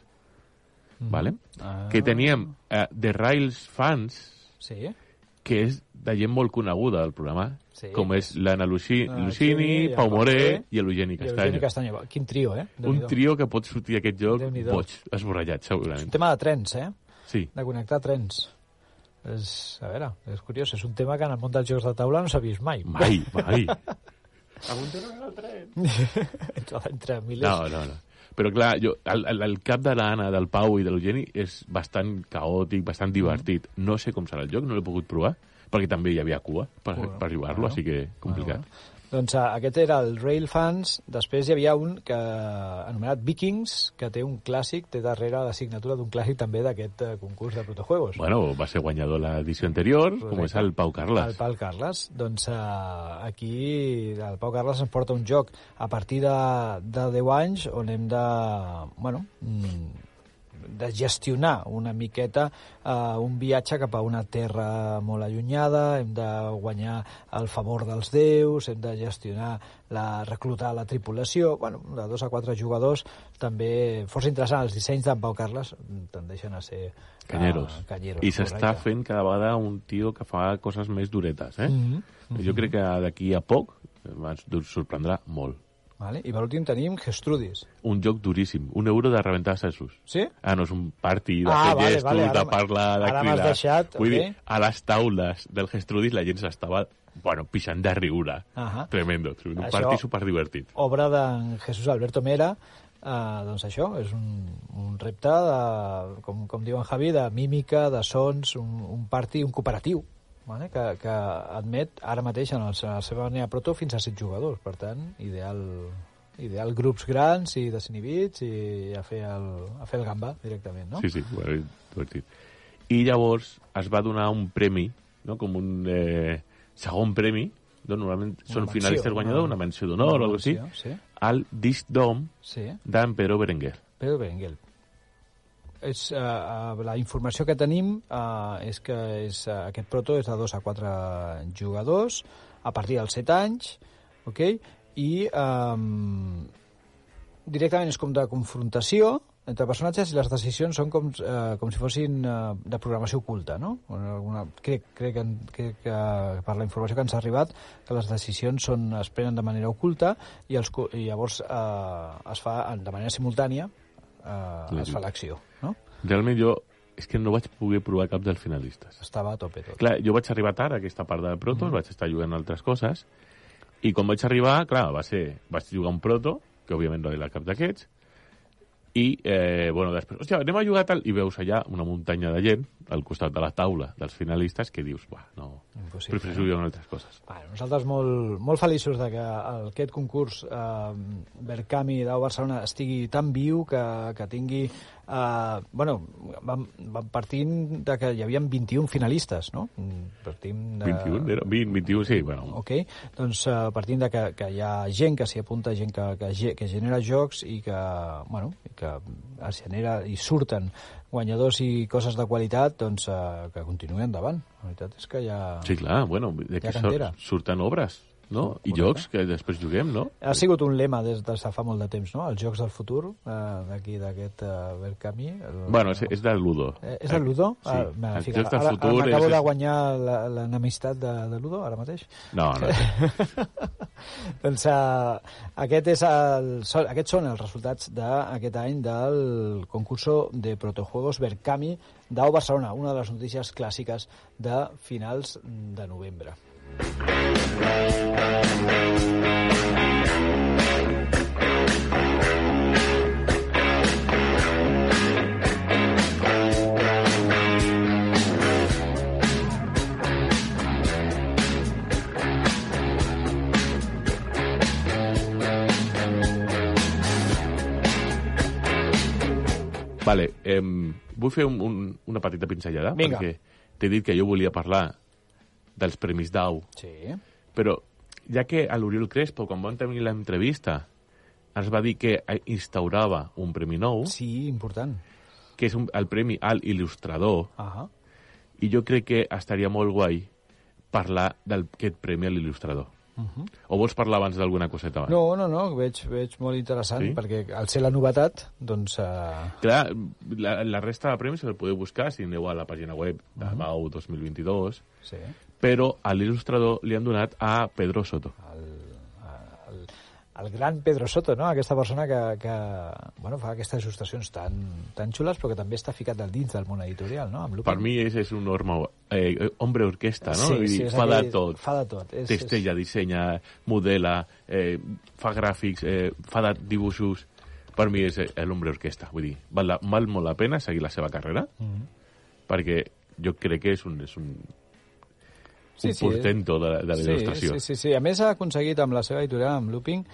[SPEAKER 3] vale?
[SPEAKER 2] Ah.
[SPEAKER 3] que teníem eh, The Rails Fans,
[SPEAKER 2] Sí,
[SPEAKER 3] que és de gent molt coneguda del programa,
[SPEAKER 2] Sí.
[SPEAKER 3] sí. com és l'Anna Luci-
[SPEAKER 2] Anna
[SPEAKER 3] Lucini,
[SPEAKER 2] Lucini,
[SPEAKER 3] Pau
[SPEAKER 2] el Moré,
[SPEAKER 3] Moré i l'Eugeni
[SPEAKER 2] i Eugeni
[SPEAKER 3] Castanyo.
[SPEAKER 2] Castanyo. Quin trio, eh?
[SPEAKER 3] Un
[SPEAKER 2] Déu-n'hi-do.
[SPEAKER 3] trio que pot sortir d'aquest joc
[SPEAKER 2] Déu-n'hi-do.
[SPEAKER 3] boig, esborrallat, segurament.
[SPEAKER 2] Tema de trens, eh?
[SPEAKER 3] Sí.
[SPEAKER 2] De connectar trens. És, a veure, és curiós, és un tema que en el món dels jocs de taula no s'ha vist mai.
[SPEAKER 3] Mai, mai.
[SPEAKER 2] (laughs) Entre milers.
[SPEAKER 3] No, no, no. Però clar, jo, el, el, el cap de l'Anna, del Pau i de l'Eugeni és bastant caòtic, bastant divertit. No sé com serà el joc, no l'he pogut provar, perquè també hi havia cua per,
[SPEAKER 2] Cua,
[SPEAKER 3] per arribar-lo,
[SPEAKER 2] claro.
[SPEAKER 3] així que complicat.
[SPEAKER 2] Doncs uh, aquest era el Rail Fans, després hi havia un que anomenat Vikings, que té un clàssic, té darrere la signatura d'un clàssic també d'aquest eh, concurs de protojuegos.
[SPEAKER 3] Bueno, va ser guanyador l'edició anterior, com és el Pau Carles.
[SPEAKER 2] El Pau Carles. Doncs eh, aquí el Pau Carles ens porta un joc a partir de, de 10 anys on hem de, bueno, mm, de gestionar una miqueta eh, un viatge cap a una terra molt allunyada, hem de guanyar el favor dels déus, hem de gestionar la, reclutar la tripulació, bueno, de dos a quatre jugadors, també força interessant, els dissenys d'en Pau Carles mm, tendeixen a ser eh,
[SPEAKER 3] Canyeros.
[SPEAKER 2] canyeros
[SPEAKER 3] Ah, I s'està
[SPEAKER 2] correcte.
[SPEAKER 3] fent cada vegada un tio que fa coses més duretes, eh?
[SPEAKER 2] Mm-hmm.
[SPEAKER 3] Mm -hmm. Jo crec que d'aquí a poc ens sorprendrà molt.
[SPEAKER 2] Vale? I per últim tenim Gestrudis.
[SPEAKER 3] Un joc duríssim, un euro de rebentar sesos.
[SPEAKER 2] Sí?
[SPEAKER 3] Ah, no, és un party de
[SPEAKER 2] Ah,
[SPEAKER 3] fer
[SPEAKER 2] vale,
[SPEAKER 3] gestos,
[SPEAKER 2] vale, ara
[SPEAKER 3] de
[SPEAKER 2] m'ha-
[SPEAKER 3] parlar, de
[SPEAKER 2] ara m'has
[SPEAKER 3] cridar.
[SPEAKER 2] deixat,
[SPEAKER 3] Vull
[SPEAKER 2] ok.
[SPEAKER 3] dir, a les taules del Gestrudis la gent s'estava bueno, pixant de riure.
[SPEAKER 2] Ahà.
[SPEAKER 3] Tremendo. Un
[SPEAKER 2] Això-
[SPEAKER 3] partit superdivertit.
[SPEAKER 2] obra d'en Jesús Alberto Mera, eh, doncs això, és un, un repte, de, com, com diu en Javi, de mímica, de sons, un, un party, un cooperatiu, vale? que, que admet ara mateix en, el, en la seva manera proto fins a set jugadors, per tant, ideal ideal grups grans i desinhibits i a fer el, a fer el gamba directament, no?
[SPEAKER 3] Sí, sí, bueno, divertit. I llavors es va donar un premi, no? com un eh, segon premi, no? normalment són
[SPEAKER 2] menció,
[SPEAKER 3] finalistes guanyadors,
[SPEAKER 2] una-
[SPEAKER 3] una menció d'honor
[SPEAKER 2] una
[SPEAKER 3] o alguna cosa
[SPEAKER 2] menció,
[SPEAKER 3] així,
[SPEAKER 2] sí.
[SPEAKER 3] al Disc Dom
[SPEAKER 2] Sí.
[SPEAKER 3] d'en Pedro Berenguer.
[SPEAKER 2] Pedro Berenguel. És, eh, eh, la informació que tenim eh, és que és, eh, aquest proto és de 2 a 4 jugadors a partir dels 7 anys, ok? i eh, directament és com de confrontació entre personatges i les decisions són com, eh, com si fossin eh, de programació oculta, no? O Alguna, crec, crec, que, crec que per la informació que ens ha arribat que les decisions són, es prenen de manera oculta i, els, co- i llavors eh, es fa en- de manera simultània eh, es fa l'acció, no?
[SPEAKER 3] Realment jo és que no vaig poder provar cap dels finalistes.
[SPEAKER 2] Estava a tope tot.
[SPEAKER 3] Clar, jo vaig arribar tard a aquesta part de protos,
[SPEAKER 2] Mm.
[SPEAKER 3] vaig estar jugant a altres coses, i quan vaig arribar, clar, va ser, vaig jugar un proto, que òbviament no era cap d'aquests, i, eh, bueno, després, hòstia, anem a jugar tal, i veus allà una muntanya de gent al costat de la taula dels finalistes que dius, buah, no,
[SPEAKER 2] Impossible.
[SPEAKER 3] prefereixo jugar a altres coses.
[SPEAKER 2] Bueno, nosaltres molt, molt feliços de que el- aquest concurs eh, Berkami d'Au Barcelona estigui tan viu que, que tingui... Eh, bueno, vam, vam partint de que hi havia 21 finalistes, no? Mm, Partim de...
[SPEAKER 3] 21, era? 20, 21, sí, bueno,
[SPEAKER 2] Ok, doncs eh, partint de que, que hi ha gent que s'hi apunta, gent que, que, ge- que genera jocs i que, bueno, i que es genera i surten guanyadors i coses de qualitat, doncs eh, que continuï endavant. La veritat és que hi ha...
[SPEAKER 3] sí, clar, bueno, de que
[SPEAKER 2] cantera. Oh,
[SPEAKER 3] sort, surten obres, no? I jocs que després juguem, no?
[SPEAKER 2] Ha sigut un lema des de fa molt de temps, no? Els Jocs del Futur, eh, d'aquí, d'aquest eh, Berkami. El...
[SPEAKER 3] Bueno, és, és del Ludo.
[SPEAKER 2] Eh, és el Ludo?
[SPEAKER 3] Sí.
[SPEAKER 2] Ah, me la
[SPEAKER 3] Els
[SPEAKER 2] fica-
[SPEAKER 3] Jocs del
[SPEAKER 2] ara,
[SPEAKER 3] Futur
[SPEAKER 2] Ara m'acabo
[SPEAKER 3] és-
[SPEAKER 2] de guanyar la- l'enemistat de, de Ludo, ara mateix.
[SPEAKER 3] No,
[SPEAKER 2] eh,
[SPEAKER 3] no,
[SPEAKER 2] doncs uh, aquest és el, són- aquests són els resultats d'aquest any del concurso de protojuegos Berkami d'Au Barcelona, una de les notícies clàssiques de finals de novembre.
[SPEAKER 3] Vale, eh, vull fer un, un, una petita pinzellada,
[SPEAKER 2] Vinga.
[SPEAKER 3] perquè t'he dit que jo volia parlar dels Premis DAU,
[SPEAKER 2] Sí.
[SPEAKER 3] però ja que a l'Oriol Crespo, quan vam tenir l'entrevista, ens va dir que instaurava un premi nou,
[SPEAKER 2] Sí, important.
[SPEAKER 3] que és un, el premi al il·lustrador,
[SPEAKER 2] Ah
[SPEAKER 3] i jo crec que estaria molt guai parlar d'aquest premi a l'il·lustrador. Uh -huh. O vols parlar abans d'alguna coseta? abans?
[SPEAKER 2] Mhm. No, no, no, veig, veig molt interessant,
[SPEAKER 3] Sí?
[SPEAKER 2] sí? perquè al ser la novetat, doncs... Uh,
[SPEAKER 3] Clar, la, la resta de premis el podeu buscar si aneu a la pàgina web de
[SPEAKER 2] Mhm.
[SPEAKER 3] DAU 2022,
[SPEAKER 2] sí.
[SPEAKER 3] però a l'il·lustrador li han donat a Pedro Soto.
[SPEAKER 2] Ah, El, el gran Pedro Soto, no? Aquesta persona que, que bueno, fa aquestes il·lustracions tan, tan xules, però que també està ficat al dins del món editorial, no? Amb Lupin.
[SPEAKER 3] Per mi és, és un ormo, eh, hombre orquesta, no?
[SPEAKER 2] Sí,
[SPEAKER 3] Vull
[SPEAKER 2] sí,
[SPEAKER 3] dir,
[SPEAKER 2] és
[SPEAKER 3] fa de
[SPEAKER 2] aquell-
[SPEAKER 3] tot.
[SPEAKER 2] fa de tot, és-
[SPEAKER 3] Testella, dissenya, modela, eh, fa gràfics, eh, fa de dibuixos... Per mi és eh, l'hombre orquesta. Vull dir, val, la, val molt la pena seguir la seva carrera, mm -hmm.
[SPEAKER 2] Mm-hmm.
[SPEAKER 3] perquè jo crec que és un, és un, sí,
[SPEAKER 2] Sí,
[SPEAKER 3] un
[SPEAKER 2] sí.
[SPEAKER 3] portento de, de la il·lustració.
[SPEAKER 2] Sí, sí, sí, sí. A més, ha aconseguit amb la seva editorial, amb Looping,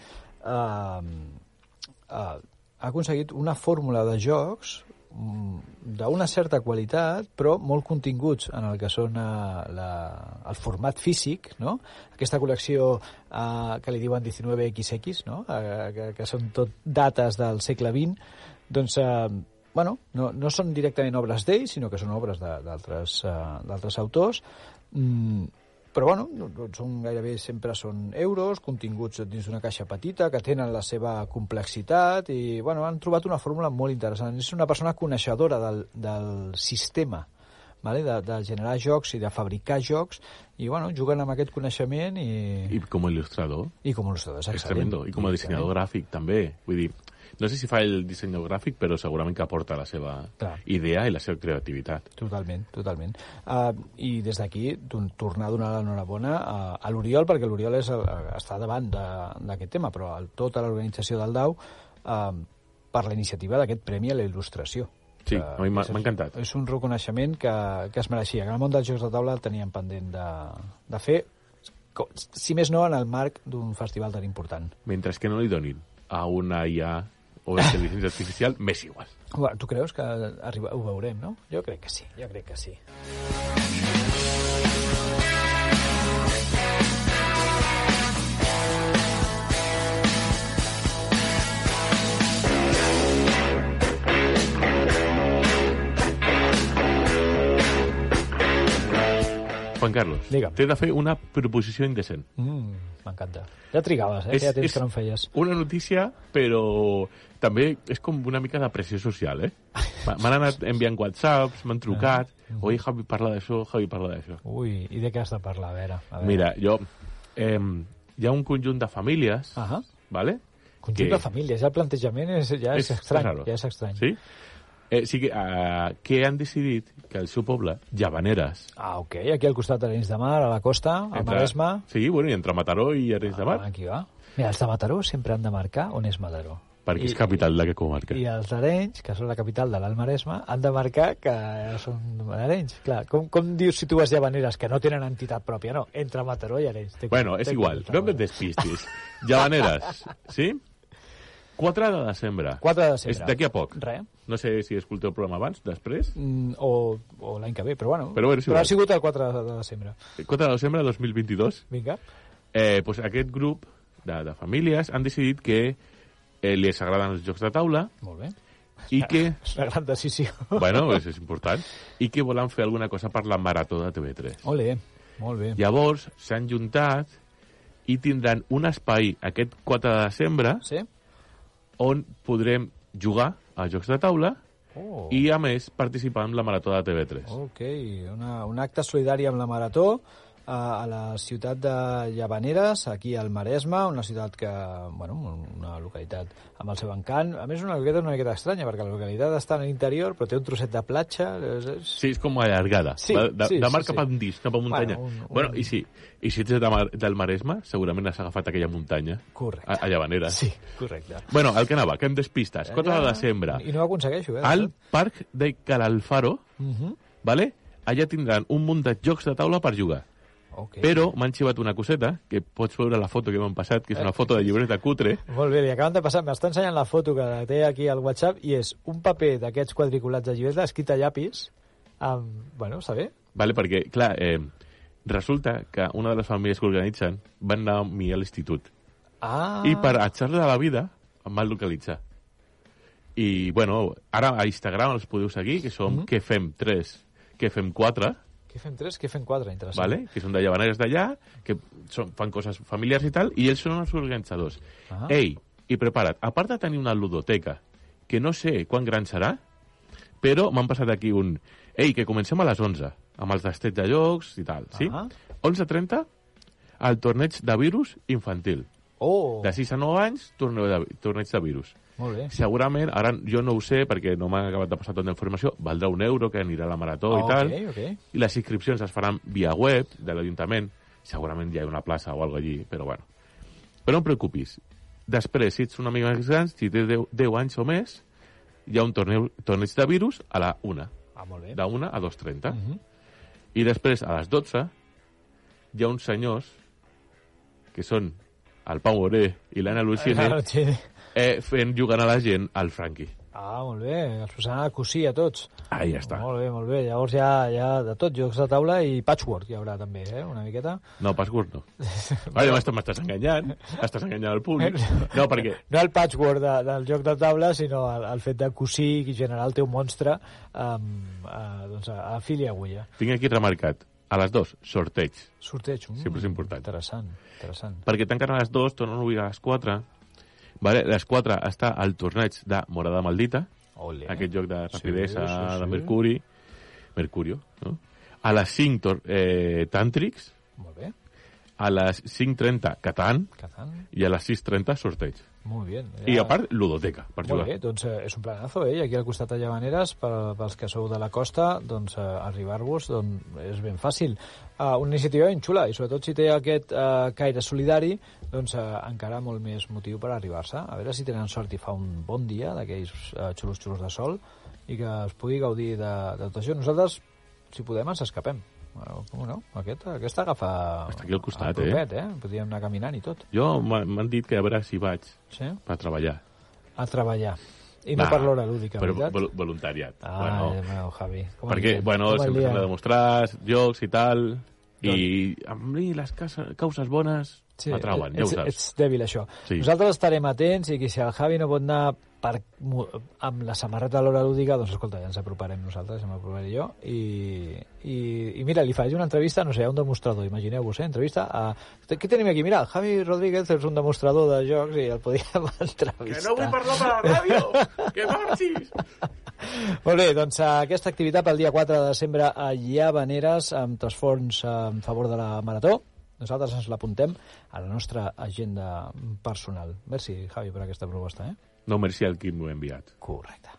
[SPEAKER 2] eh, eh, ha aconseguit una fórmula de jocs mm, d'una certa qualitat, però molt continguts en el que són eh, la, el format físic, no? Aquesta col·lecció eh, que li diuen 19XX, no? Eh, que, que són tot dates del segle XX, doncs eh, bueno, no, no són directament obres d'ell, sinó que són obres de- d'altres eh, d'altres autors, mm, però bueno, no- no són gairebé sempre són euros, continguts dins d'una caixa petita, que tenen la seva complexitat, i bueno, han trobat una fórmula molt interessant. És una persona coneixedora del, del sistema, vale? de, de generar jocs i de fabricar jocs, i bueno, juguen amb aquest coneixement i,
[SPEAKER 3] I com a il·lustrador,
[SPEAKER 2] i, com a il·lustrador.
[SPEAKER 3] és tremendo. I com a dissenyador gràfic, també. Vull dir, No sé si fa el disseny gràfic, però segurament que aporta la seva
[SPEAKER 2] Clar.
[SPEAKER 3] idea i la seva creativitat.
[SPEAKER 2] Totalment, totalment. Uh, I des d'aquí don- tornar a donar l'enhorabona a, a l'Oriol, perquè l'Oriol és el, eh, està davant de- d'aquest tema, però a tota l'organització del DAU uh, per la iniciativa d'aquest Premi a la Il·lustració.
[SPEAKER 3] Sí,
[SPEAKER 2] Que
[SPEAKER 3] a mi m'ha
[SPEAKER 2] és-
[SPEAKER 3] m'ha encantat.
[SPEAKER 2] És un reconeixement que, que es mereixia, que en el món dels jocs de taula el tenien pendent de, de fer, co- si més no, en el marc d'un festival tan important.
[SPEAKER 3] Mentre que no li donin a una IA o a intel·ligència artificial, m'és igual.
[SPEAKER 2] Ua, Tu creus que arriba, ho veurem, no? Jo crec que sí, jo crec que sí.
[SPEAKER 3] Juan Carlos,
[SPEAKER 2] Digue'm.
[SPEAKER 3] t'he de fer una proposició indecent.
[SPEAKER 2] Mm, M'encanta. Ja trigaves, eh? Feia temps que no en feies.
[SPEAKER 3] una notícia, però també és com una mica de pressió social, eh? M'ha- M'han anat enviant whatsapps, m'han trucat, oi, Javi, parla d'això, Javi, parla d'això.
[SPEAKER 2] Ui, i de què has de parlar? A veure, a veure.
[SPEAKER 3] Mira, jo... Eh, hi ha un conjunt de famílies,
[SPEAKER 2] Ahà.
[SPEAKER 3] ¿vale?
[SPEAKER 2] Conjunt
[SPEAKER 3] que-
[SPEAKER 2] Ah. de famílies, ja el plantejament és, ja és, estrany,
[SPEAKER 3] raro.
[SPEAKER 2] ja és estrany.
[SPEAKER 3] Sí? Eh, sí que, eh, que han decidit que el seu poble, Llavaneres...
[SPEAKER 2] Ah, ok, aquí al costat de l'Arenys de Mar, a la costa, a Maresme...
[SPEAKER 3] Sí, bueno, i entre Mataró i Arenys de Mar,
[SPEAKER 2] Ah, aquí va. Mira, els de Mataró sempre han de marcar on és Mataró.
[SPEAKER 3] perquè és capital de la comarca.
[SPEAKER 2] I els d'Arenys, que són la capital de l'Alt Maresme, han de marcar que són d'Arenys. Clar, com, com dius si tu vas llavaneres, que no tenen entitat pròpia? No, entre Mataró i Arenys. Té-
[SPEAKER 3] Bueno, és
[SPEAKER 2] té-
[SPEAKER 3] igual,
[SPEAKER 2] té-
[SPEAKER 3] no em despistis. Llavaneres, sí? 4 de desembre.
[SPEAKER 2] 4 de desembre.
[SPEAKER 3] És d'aquí a poc.
[SPEAKER 2] Re.
[SPEAKER 3] No sé si escolteu el programa abans, després.
[SPEAKER 2] Mm, o o l'any que ve, però bueno.
[SPEAKER 3] Però bueno, és
[SPEAKER 2] però
[SPEAKER 3] igual.
[SPEAKER 2] ha sigut el 4 de de desembre.
[SPEAKER 3] 4 de desembre de 2022.
[SPEAKER 2] Vinga.
[SPEAKER 3] Eh, pues aquest grup de, de famílies han decidit que eh, li agraden els jocs de taula
[SPEAKER 2] Molt bé.
[SPEAKER 3] i que,
[SPEAKER 2] És una gran decisió.
[SPEAKER 3] bueno, és, és important, i que volen fer alguna cosa per la marató de TV3.
[SPEAKER 2] Ole, (laughs) molt bé.
[SPEAKER 3] Llavors, s'han juntat i tindran un espai aquest 4 de desembre
[SPEAKER 2] Sí?
[SPEAKER 3] on podrem jugar a jocs de taula
[SPEAKER 2] Oh.
[SPEAKER 3] i, a més, participar en la marató de TV3.
[SPEAKER 2] Ok, una, un acte solidari amb la Marató a, a la ciutat de Llavaneres, aquí al Maresme, una ciutat que, bueno, una localitat amb el seu encant. A més, una localitat una miqueta estranya, perquè la localitat està a l'interior, però té un trosset de platja. És, és...
[SPEAKER 3] Sí, és com allargada.
[SPEAKER 2] Sí,
[SPEAKER 3] va de,
[SPEAKER 2] sí,
[SPEAKER 3] de
[SPEAKER 2] sí,
[SPEAKER 3] mar
[SPEAKER 2] sí.
[SPEAKER 3] cap endins, cap a muntanya.
[SPEAKER 2] Bueno,
[SPEAKER 3] Bueno,
[SPEAKER 2] un- un-
[SPEAKER 3] bueno i, si, i si ets de mar, del Maresme, segurament has agafat aquella muntanya.
[SPEAKER 2] Correcte.
[SPEAKER 3] A, a Llavanera.
[SPEAKER 2] Sí, correcte.
[SPEAKER 3] Bueno, el que anava, que em despistes. 4 de desembre.
[SPEAKER 2] I no ho aconsegueixo, eh?
[SPEAKER 3] Al Parc de Calalfaro,
[SPEAKER 2] Mhm.
[SPEAKER 3] vale? allà tindran un munt de jocs de taula per jugar.
[SPEAKER 2] Okay.
[SPEAKER 3] Però m'han xivat una coseta, que pots veure la foto que m'han passat, que és una foto de llibreta cutre.
[SPEAKER 2] Molt bé, li acaben de passar. M'està ensenyant la foto que té aquí al WhatsApp i és un paper d'aquests quadriculats de llibres escrit a llapis amb... Bueno, està bé.
[SPEAKER 3] Vale? Perquè, clar, eh, resulta que una de les famílies que organitzen van anar amb mi a l'institut.
[SPEAKER 2] Ah,
[SPEAKER 3] I per echar-li a la vida em van localitzar. I, bueno, ara a Instagram els podeu seguir, que som
[SPEAKER 2] Mhm.
[SPEAKER 3] mm -hmm. que fem 3, que fem 4,
[SPEAKER 2] què fem tres, què fem quatre? Interessant.
[SPEAKER 3] vale? que són de llavaneres d'allà, que són, fan coses familiars i tal, i ells són els organitzadors.
[SPEAKER 2] Ah.
[SPEAKER 3] Ei, i prepara't, a part de tenir una ludoteca, que no sé quan gran serà, però m'han passat aquí un... Ei, que comencem a les 11, amb els destets de llocs i tal, sí?
[SPEAKER 2] Ah.
[SPEAKER 3] 11.30, al torneig de virus infantil.
[SPEAKER 2] Oh,
[SPEAKER 3] De 6 a 9 anys, torneu de, torneig de virus.
[SPEAKER 2] molt bé.
[SPEAKER 3] Segurament, ara jo no ho sé perquè no m'ha acabat de passar tota la informació, valdrà un euro que anirà a la marató
[SPEAKER 2] Ah,
[SPEAKER 3] i tal.
[SPEAKER 2] ok, ok.
[SPEAKER 3] I les inscripcions es faran via web de l'Ajuntament. Segurament hi ha una plaça o alguna allí, però bueno. Però no et preocupis. Després, si ets una mica més gran, si tens 10, 10 anys o més, hi ha un torneu, torneig de virus a la 1,
[SPEAKER 2] Ah, molt bé. (laughs)
[SPEAKER 3] de 1 a 2.30. I després, a les 12, hi ha uns senyors que són el Pau Moré i l'Anna Lucine,
[SPEAKER 2] Ah, sí.
[SPEAKER 3] eh, fent jugant a la gent al Franqui.
[SPEAKER 2] Ah, molt bé. Els posaran a cosir a tots.
[SPEAKER 3] Ahí està.
[SPEAKER 2] Molt bé, molt bé. Llavors ja, ja de tot, jocs de taula i patchwork hi haurà també, eh? Una miqueta.
[SPEAKER 3] No, Pascurt no. Vale, m'estàs m'estàs enganyant, estàs enganyant el públic. No, perquè
[SPEAKER 2] No el patchwork de, del joc de taula, sinó el, el fet de cosir i generar el teu monstre amb, eh, doncs a, a fil i agulla.
[SPEAKER 3] tinc aquí remarcat, a les dues, sorteig,
[SPEAKER 2] Sorteig. Mm,
[SPEAKER 3] Sempre és important.
[SPEAKER 2] Interessant, interessant.
[SPEAKER 3] perquè tanquen a les dues, tornen a obrir a les quatre, vale? a les quatre està el torneig de Morada Maldita,
[SPEAKER 2] Ole.
[SPEAKER 3] aquest joc de
[SPEAKER 2] Sí,
[SPEAKER 3] rapidesa
[SPEAKER 2] sí, sí.
[SPEAKER 3] de Mercuri, Mercurio, no? a les 5 tor- eh, Tantrix,
[SPEAKER 2] Molt bé.
[SPEAKER 3] a les 5.30 Catan
[SPEAKER 2] Kazan.
[SPEAKER 3] i a les 6.30 sorteig.
[SPEAKER 2] Molt eh? bé. Ja.
[SPEAKER 3] I a part, ludoteca, per
[SPEAKER 2] Ah. Molt
[SPEAKER 3] jugar.
[SPEAKER 2] bé, doncs eh, és un planazo, eh? I aquí al costat de Llavaneres, per, pels que sou de la costa, doncs eh, arribar-vos doncs, és ben fàcil. Uh, una iniciativa ben xula, i sobretot si té aquest uh, caire solidari, doncs uh, encara molt més motiu per arribar-se. A veure si tenen sort i fa un bon dia d'aquells uh, xulos xulos de sol i que es pugui gaudir de, de tot això. Nosaltres, si podem, ens escapem. Bueno, com no? Aquest, aquest agafa...
[SPEAKER 3] Està aquí al costat,
[SPEAKER 2] el
[SPEAKER 3] eh?
[SPEAKER 2] propet, eh? Podríem anar caminant i tot.
[SPEAKER 3] Jo m'ha- m'han dit que a veure si vaig
[SPEAKER 2] Sí?
[SPEAKER 3] per treballar.
[SPEAKER 2] A treballar. I no
[SPEAKER 3] Va,
[SPEAKER 2] per l'hora lúdica,
[SPEAKER 3] Però
[SPEAKER 2] veritat?
[SPEAKER 3] vol- voluntariat.
[SPEAKER 2] Ah,
[SPEAKER 3] bueno,
[SPEAKER 2] bueno, meu, Javi. Com
[SPEAKER 3] perquè,
[SPEAKER 2] el diem?
[SPEAKER 3] bueno,
[SPEAKER 2] Com el
[SPEAKER 3] sempre
[SPEAKER 2] diem?
[SPEAKER 3] s'han de demostrar jocs i tal, i
[SPEAKER 2] Doncs-
[SPEAKER 3] a mi les causes, causes bones sí, m'atrauen, ja ho
[SPEAKER 2] ets,
[SPEAKER 3] saps.
[SPEAKER 2] Ets dèbil, això.
[SPEAKER 3] Sí.
[SPEAKER 2] Sí. Nosaltres estarem atents i que si el Javi no pot anar per, mu- amb la samarreta a l'hora lúdica, doncs escolta, ja ens aproparem nosaltres, ja m'aproparé jo. I, i, I mira, li faig una entrevista, no sé, a un demostrador, imagineu-vos, eh? Entrevista a... Què tenim aquí? Mira, el Javi Rodríguez és un demostrador de jocs i el podríem (laughs) entrevistar.
[SPEAKER 3] parlar per la
[SPEAKER 2] eh,
[SPEAKER 3] ràdio! que marxis!
[SPEAKER 2] Molt bé, doncs eh, aquesta activitat pel dia 4 de desembre a Llavaneres amb trasforns eh, en favor de la Marató. Nosaltres ens l'apuntem a la nostra agenda personal. Merci, Javi, per aquesta proposta, eh?
[SPEAKER 3] No, merci al qui m'ho ha enviat.
[SPEAKER 2] Correcte.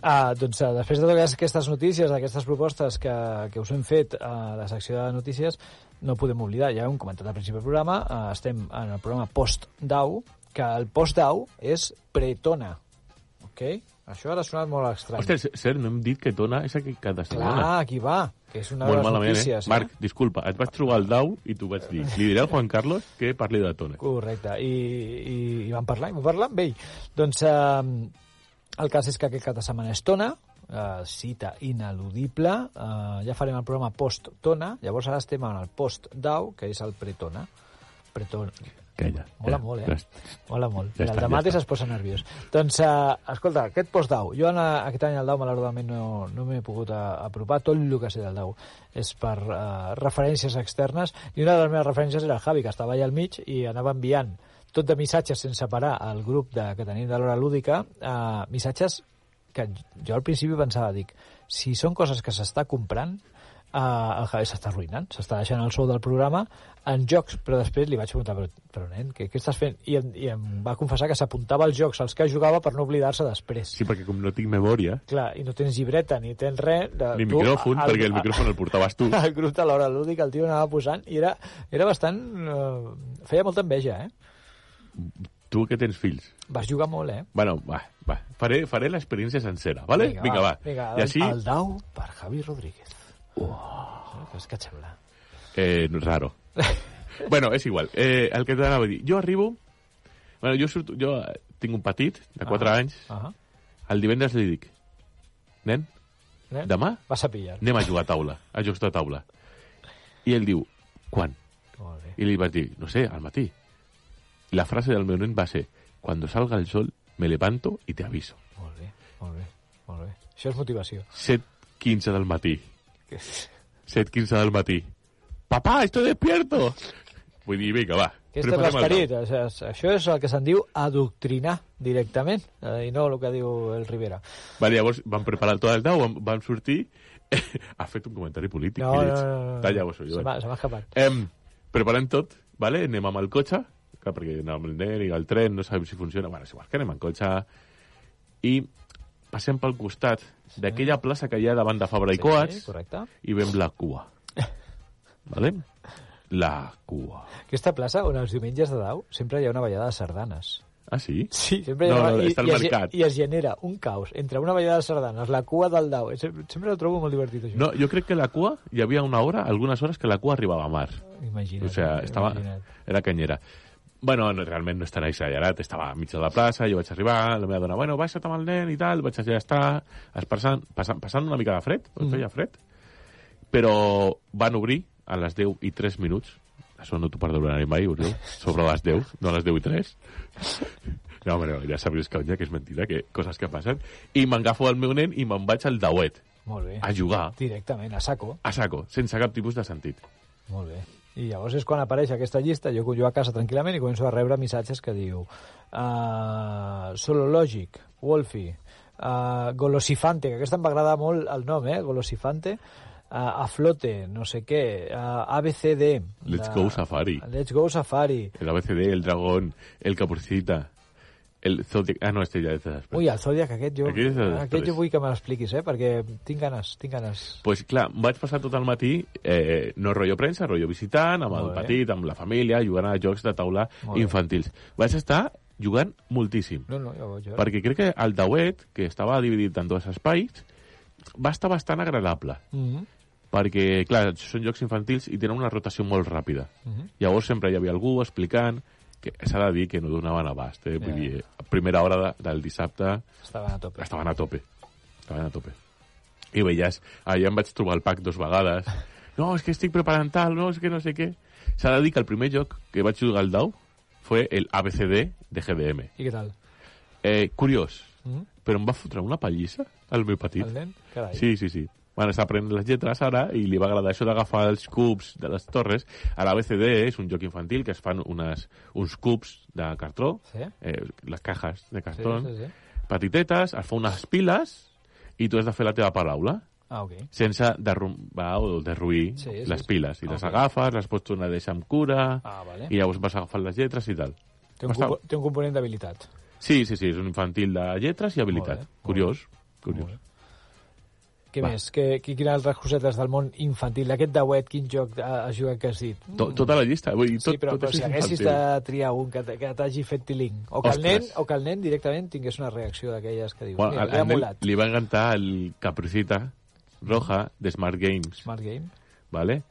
[SPEAKER 2] Ah, doncs eh, després de totes aquestes notícies, d'aquestes propostes que, que us hem fet a la secció de notícies, no podem oblidar, ja ho hem comentat al principi del programa, eh, estem en el programa post-DAU, que el post-DAU és pretona. Ok? Això ara ha sonat molt estrany.
[SPEAKER 3] Ostres, cert, no hem dit que Tona és aquí cada
[SPEAKER 2] Clar,
[SPEAKER 3] setmana.
[SPEAKER 2] aquí va, que és una
[SPEAKER 3] Molt
[SPEAKER 2] de les
[SPEAKER 3] malament,
[SPEAKER 2] notícies.
[SPEAKER 3] eh? Marc, disculpa, et vaig trobar al Dau i t'ho vaig dir. Li diré al Juan Carlos que parli de Tona.
[SPEAKER 2] Correcte, i, i, i vam parlar, i vam parlar amb ell. Doncs eh, el cas és que aquest cap de setmana és Tona, eh, cita ineludible, eh, ja farem el programa post-Tona, llavors ara estem en el post-Dau, que és el pre-Tona. Preton...
[SPEAKER 3] Calla.
[SPEAKER 2] Mola molt, eh? Mola molt.
[SPEAKER 3] Ja
[SPEAKER 2] Ja
[SPEAKER 3] està,
[SPEAKER 2] el
[SPEAKER 3] ja
[SPEAKER 2] de mates
[SPEAKER 3] està.
[SPEAKER 2] es posa nerviós. Doncs, eh, escolta, aquest post-Dau, jo en, eh, aquest any al Dau malauradament no, no m'he pogut eh, apropar, tot el que sé del Dau és per eh, referències externes, i una de les meves referències era el Javi, que estava allà al mig i anava enviant tot de missatges sense parar al grup de, que tenim de l'hora lúdica, eh, missatges que jo al principi pensava, dic, si són coses que s'està comprant, eh, el Javi s'està arruïnant, s'està deixant el sou del programa en jocs, però després li vaig preguntar, però, però nen, què, què estàs fent? I em, I em va confessar que s'apuntava als jocs als que jugava per no oblidar-se després.
[SPEAKER 3] Sí, perquè com no tinc memòria,
[SPEAKER 2] Clar, i no tens llibreta ni tens res... De,
[SPEAKER 3] ni
[SPEAKER 2] tu,
[SPEAKER 3] micròfon,
[SPEAKER 2] al-
[SPEAKER 3] perquè el
[SPEAKER 2] a- (laughs)
[SPEAKER 3] micròfon el portaves tu.
[SPEAKER 2] al grup de l'hora lúdica el tio anava posant i era, era bastant... Eh, feia molta enveja, eh?
[SPEAKER 3] Tu que tens fills.
[SPEAKER 2] Vas jugar molt, eh?
[SPEAKER 3] Bueno, va, va. Faré, faré l'experiència sencera, vale? Vinga, va.
[SPEAKER 2] Vinga,
[SPEAKER 3] I
[SPEAKER 2] doncs,
[SPEAKER 3] així,
[SPEAKER 2] el dau per Javi Rodríguez. Uau. Què et sembla?
[SPEAKER 3] eh,
[SPEAKER 2] (laughs)
[SPEAKER 3] raro. bueno, és igual. Eh, el que t'anava a dir. Jo arribo... Bueno, jo, surto, jo eh, tinc un petit, de 4 anys.
[SPEAKER 2] Ah,
[SPEAKER 3] El divendres li dic... Nen,
[SPEAKER 2] nen,
[SPEAKER 3] demà
[SPEAKER 2] Vas a pillar.
[SPEAKER 3] anem a jugar a taula, a jocs de taula. I ell diu, quan?
[SPEAKER 2] Molt bé.
[SPEAKER 3] I li vaig dir, no sé, al matí. I la frase del meu nen va ser, quan salga el sol, me levanto i te aviso.
[SPEAKER 2] Molt bé, molt bé, molt bé. Això és motivació.
[SPEAKER 3] 7.15 del matí.
[SPEAKER 2] Que-
[SPEAKER 3] 7.15 del matí. Papà, estoy despierto! Vull dir, vinga, va.
[SPEAKER 2] Aquest és
[SPEAKER 3] preparem el
[SPEAKER 2] l'esperit. O sigui, és- Això és el que se'n diu adoctrinar directament, eh, i no el que diu el Rivera.
[SPEAKER 3] dau. Vale, llavors vam preparar tot el dau, vam, vam sortir... (laughs) ha fet un comentari polític.
[SPEAKER 2] No,
[SPEAKER 3] que
[SPEAKER 2] no,
[SPEAKER 3] lleig.
[SPEAKER 2] no, no.
[SPEAKER 3] Talla vos, jo.
[SPEAKER 2] Se m'ha se m'ha escapat.
[SPEAKER 3] Em, preparem tot, vale? anem amb el cotxe, clar, perquè anem amb el nen i el tren, no sabem si funciona, bueno, és igual, que anem en cotxe, i passem pel costat d'aquella plaça que hi ha davant de Fabra i Coats,
[SPEAKER 2] Sí, correcte.
[SPEAKER 3] i vem la cua. vale? La cua.
[SPEAKER 2] Aquesta plaça, on els diumenges de Dau, sempre hi ha una ballada de sardanes.
[SPEAKER 3] Ah, sí?
[SPEAKER 2] Sí, sempre
[SPEAKER 3] No,
[SPEAKER 2] hi ha...
[SPEAKER 3] no,
[SPEAKER 2] i,
[SPEAKER 3] està al
[SPEAKER 2] i, es,
[SPEAKER 3] mercat.
[SPEAKER 2] I es genera un caos entre una ballada de sardanes, la cua del Dau. Eh, Sempre, sempre ho trobo molt divertit, això.
[SPEAKER 3] No, jo crec que la cua, hi havia una hora, algunes hores, que la cua arribava a mar.
[SPEAKER 2] Imagina't.
[SPEAKER 3] O sea, estava...
[SPEAKER 2] imagina't.
[SPEAKER 3] Era canyera. Bueno, no, realment no és tan exagerat. Estava a mitja de la plaça, jo vaig arribar, la meva dona, bueno, baixa't amb el nen i tal, vaig allà estar, espassant, passant, passant una mica de fred, mm. feia fred, però van obrir a les 10 i 3 minuts, això no t'ho perdonaré mai, Oriol, sobre les 10, no a les 10 i 3. No, home, no, ja sabries, conya, que és mentida, que coses que passen. I m'agafo el meu nen i me'n vaig al dauet,
[SPEAKER 2] Molt bé.
[SPEAKER 3] a jugar,
[SPEAKER 2] Directament, a saco.
[SPEAKER 3] a saco, sense cap tipus de sentit.
[SPEAKER 2] Molt bé. I llavors és quan apareix aquesta llista, jo, jo a casa tranquil·lament i començo a rebre missatges que diu uh, Solologic, Wolfie, uh, Golosifante, que aquesta em va agradar molt el nom, eh? Golosifante, uh, Aflote, no sé què, uh, ABCD.
[SPEAKER 3] Let's go Safari.
[SPEAKER 2] Let's Go Safari.
[SPEAKER 3] El ABCD, el dragón, el caporcita, el zodiac... Ah, no, este ya es de después.
[SPEAKER 2] Ui, el Zodiac aquest jo,
[SPEAKER 3] Aquest és el
[SPEAKER 2] aquest,
[SPEAKER 3] després.
[SPEAKER 2] jo vull que me l'expliquis, eh? perquè tinc ganes, tinc ganes.
[SPEAKER 3] pues, clar, vaig passar tot el matí, eh, no rotllo premsa, rotllo visitant, amb el
[SPEAKER 2] Molt bé.
[SPEAKER 3] petit, amb la família, jugant a jocs de taula
[SPEAKER 2] Molt bé.
[SPEAKER 3] infantils. Vaig estar jugant moltíssim.
[SPEAKER 2] No, no, ja ho veig.
[SPEAKER 3] perquè crec que el tauet, que estava dividit en dos espais, va estar bastant agradable.
[SPEAKER 2] Mm -hmm.
[SPEAKER 3] Perquè, clar, són jocs infantils i tenen una rotació molt ràpida. Llavors sempre hi havia algú explicant que s'ha de dir que no donaven abast. Eh? Vull
[SPEAKER 2] Ja.
[SPEAKER 3] dir, a primera hora de, del dissabte
[SPEAKER 2] Estaven a tope.
[SPEAKER 3] estaven a tope. Estaven a tope. I veies, allà em vaig trobar el pack dos vegades. No, és que estic preparant tal, no, és que no sé què. S'ha de dir que el primer joc que vaig jugar al DAO fue el ABCD de GDM.
[SPEAKER 2] I què tal?
[SPEAKER 3] Eh, curiós,
[SPEAKER 2] Mm?
[SPEAKER 3] però em va fotre una pallissa al meu petit.
[SPEAKER 2] El nen? Carai.
[SPEAKER 3] Sí, sí, sí. Bueno, està aprenent les lletres ara i li va agradar això d'agafar els cubs de les torres. A l'ABCD és un joc infantil que es fan unes, uns cubs de cartró,
[SPEAKER 2] Sí?
[SPEAKER 3] eh, les cajas de
[SPEAKER 2] Sí,
[SPEAKER 3] cartró,
[SPEAKER 2] sí, sí.
[SPEAKER 3] petitetes, es fa unes piles i tu has de fer la teva paraula
[SPEAKER 2] Ah, ok.
[SPEAKER 3] sense derrumbar o derruir
[SPEAKER 2] Sí, sí,
[SPEAKER 3] les
[SPEAKER 2] sí. Ah,
[SPEAKER 3] piles. I les
[SPEAKER 2] Ok.
[SPEAKER 3] agafes, les pots tornar a deixar amb cura,
[SPEAKER 2] Ah, vale.
[SPEAKER 3] i llavors vas agafant les lletres i tal.
[SPEAKER 2] Té un,
[SPEAKER 3] Bastant.
[SPEAKER 2] compo- té un component d'habilitat.
[SPEAKER 3] Sí, sí, sí, és un infantil de lletres i habilitat.
[SPEAKER 2] Molt bé, molt
[SPEAKER 3] Curiós, curiós.
[SPEAKER 2] Què
[SPEAKER 3] Va.
[SPEAKER 2] més? Que, que, quines altres cosetes del món infantil? D'aquest dauet, quin joc ha- has jugat que has dit?
[SPEAKER 3] To- Tota la llista. Vull dir, tot,
[SPEAKER 2] sí, però,
[SPEAKER 3] tot
[SPEAKER 2] però
[SPEAKER 3] és
[SPEAKER 2] si haguessis
[SPEAKER 3] infantil.
[SPEAKER 2] de triar un que t- que t'hagi fet tiling, o que, el
[SPEAKER 3] Ostres.
[SPEAKER 2] nen, o que el nen directament tingués una reacció d'aquelles que dius,
[SPEAKER 3] Bueno,
[SPEAKER 2] mira,
[SPEAKER 3] al-
[SPEAKER 2] l'he
[SPEAKER 3] al nen
[SPEAKER 2] emulat.
[SPEAKER 3] li va encantar el Capricita Roja de Smart Games,
[SPEAKER 2] Smart Game?
[SPEAKER 3] ¿vale?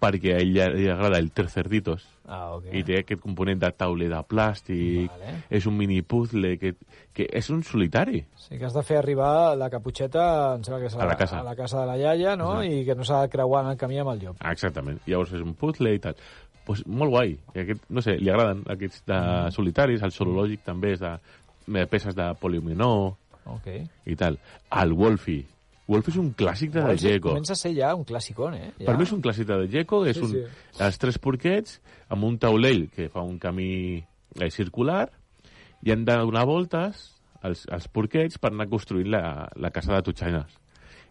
[SPEAKER 3] perquè a ell ja- li agrada el Tercerditos
[SPEAKER 2] Ah, ok.
[SPEAKER 3] i té aquest component de tauler de plàstic,
[SPEAKER 2] Vale.
[SPEAKER 3] és un mini puzzle, que, que és un solitari.
[SPEAKER 2] Sí, que has de fer arribar la caputxeta, em sembla que és a la,
[SPEAKER 3] A la casa.
[SPEAKER 2] a la casa de la iaia, no? I que no s'ha de creuar en el camí amb el llop.
[SPEAKER 3] Ah, exactament, llavors és un puzzle i tal. Pues molt guai, I aquest, no sé, li agraden aquests de
[SPEAKER 2] Mm.
[SPEAKER 3] solitaris, el zoològic també és de, de peces de poliominó
[SPEAKER 2] Ok.
[SPEAKER 3] i tal. El Wolfie, Wolfie és un clàssic de Gallego.
[SPEAKER 2] Comença a ser ja un clàssicon, eh? Ja.
[SPEAKER 3] Per mi és un clàssic de Gecko, és
[SPEAKER 2] Sí,
[SPEAKER 3] un,
[SPEAKER 2] sí.
[SPEAKER 3] els tres porquets amb un taulell que fa un camí eh, circular i han de donar voltes als, als porquets per anar construint la, la casa de Tutxanes.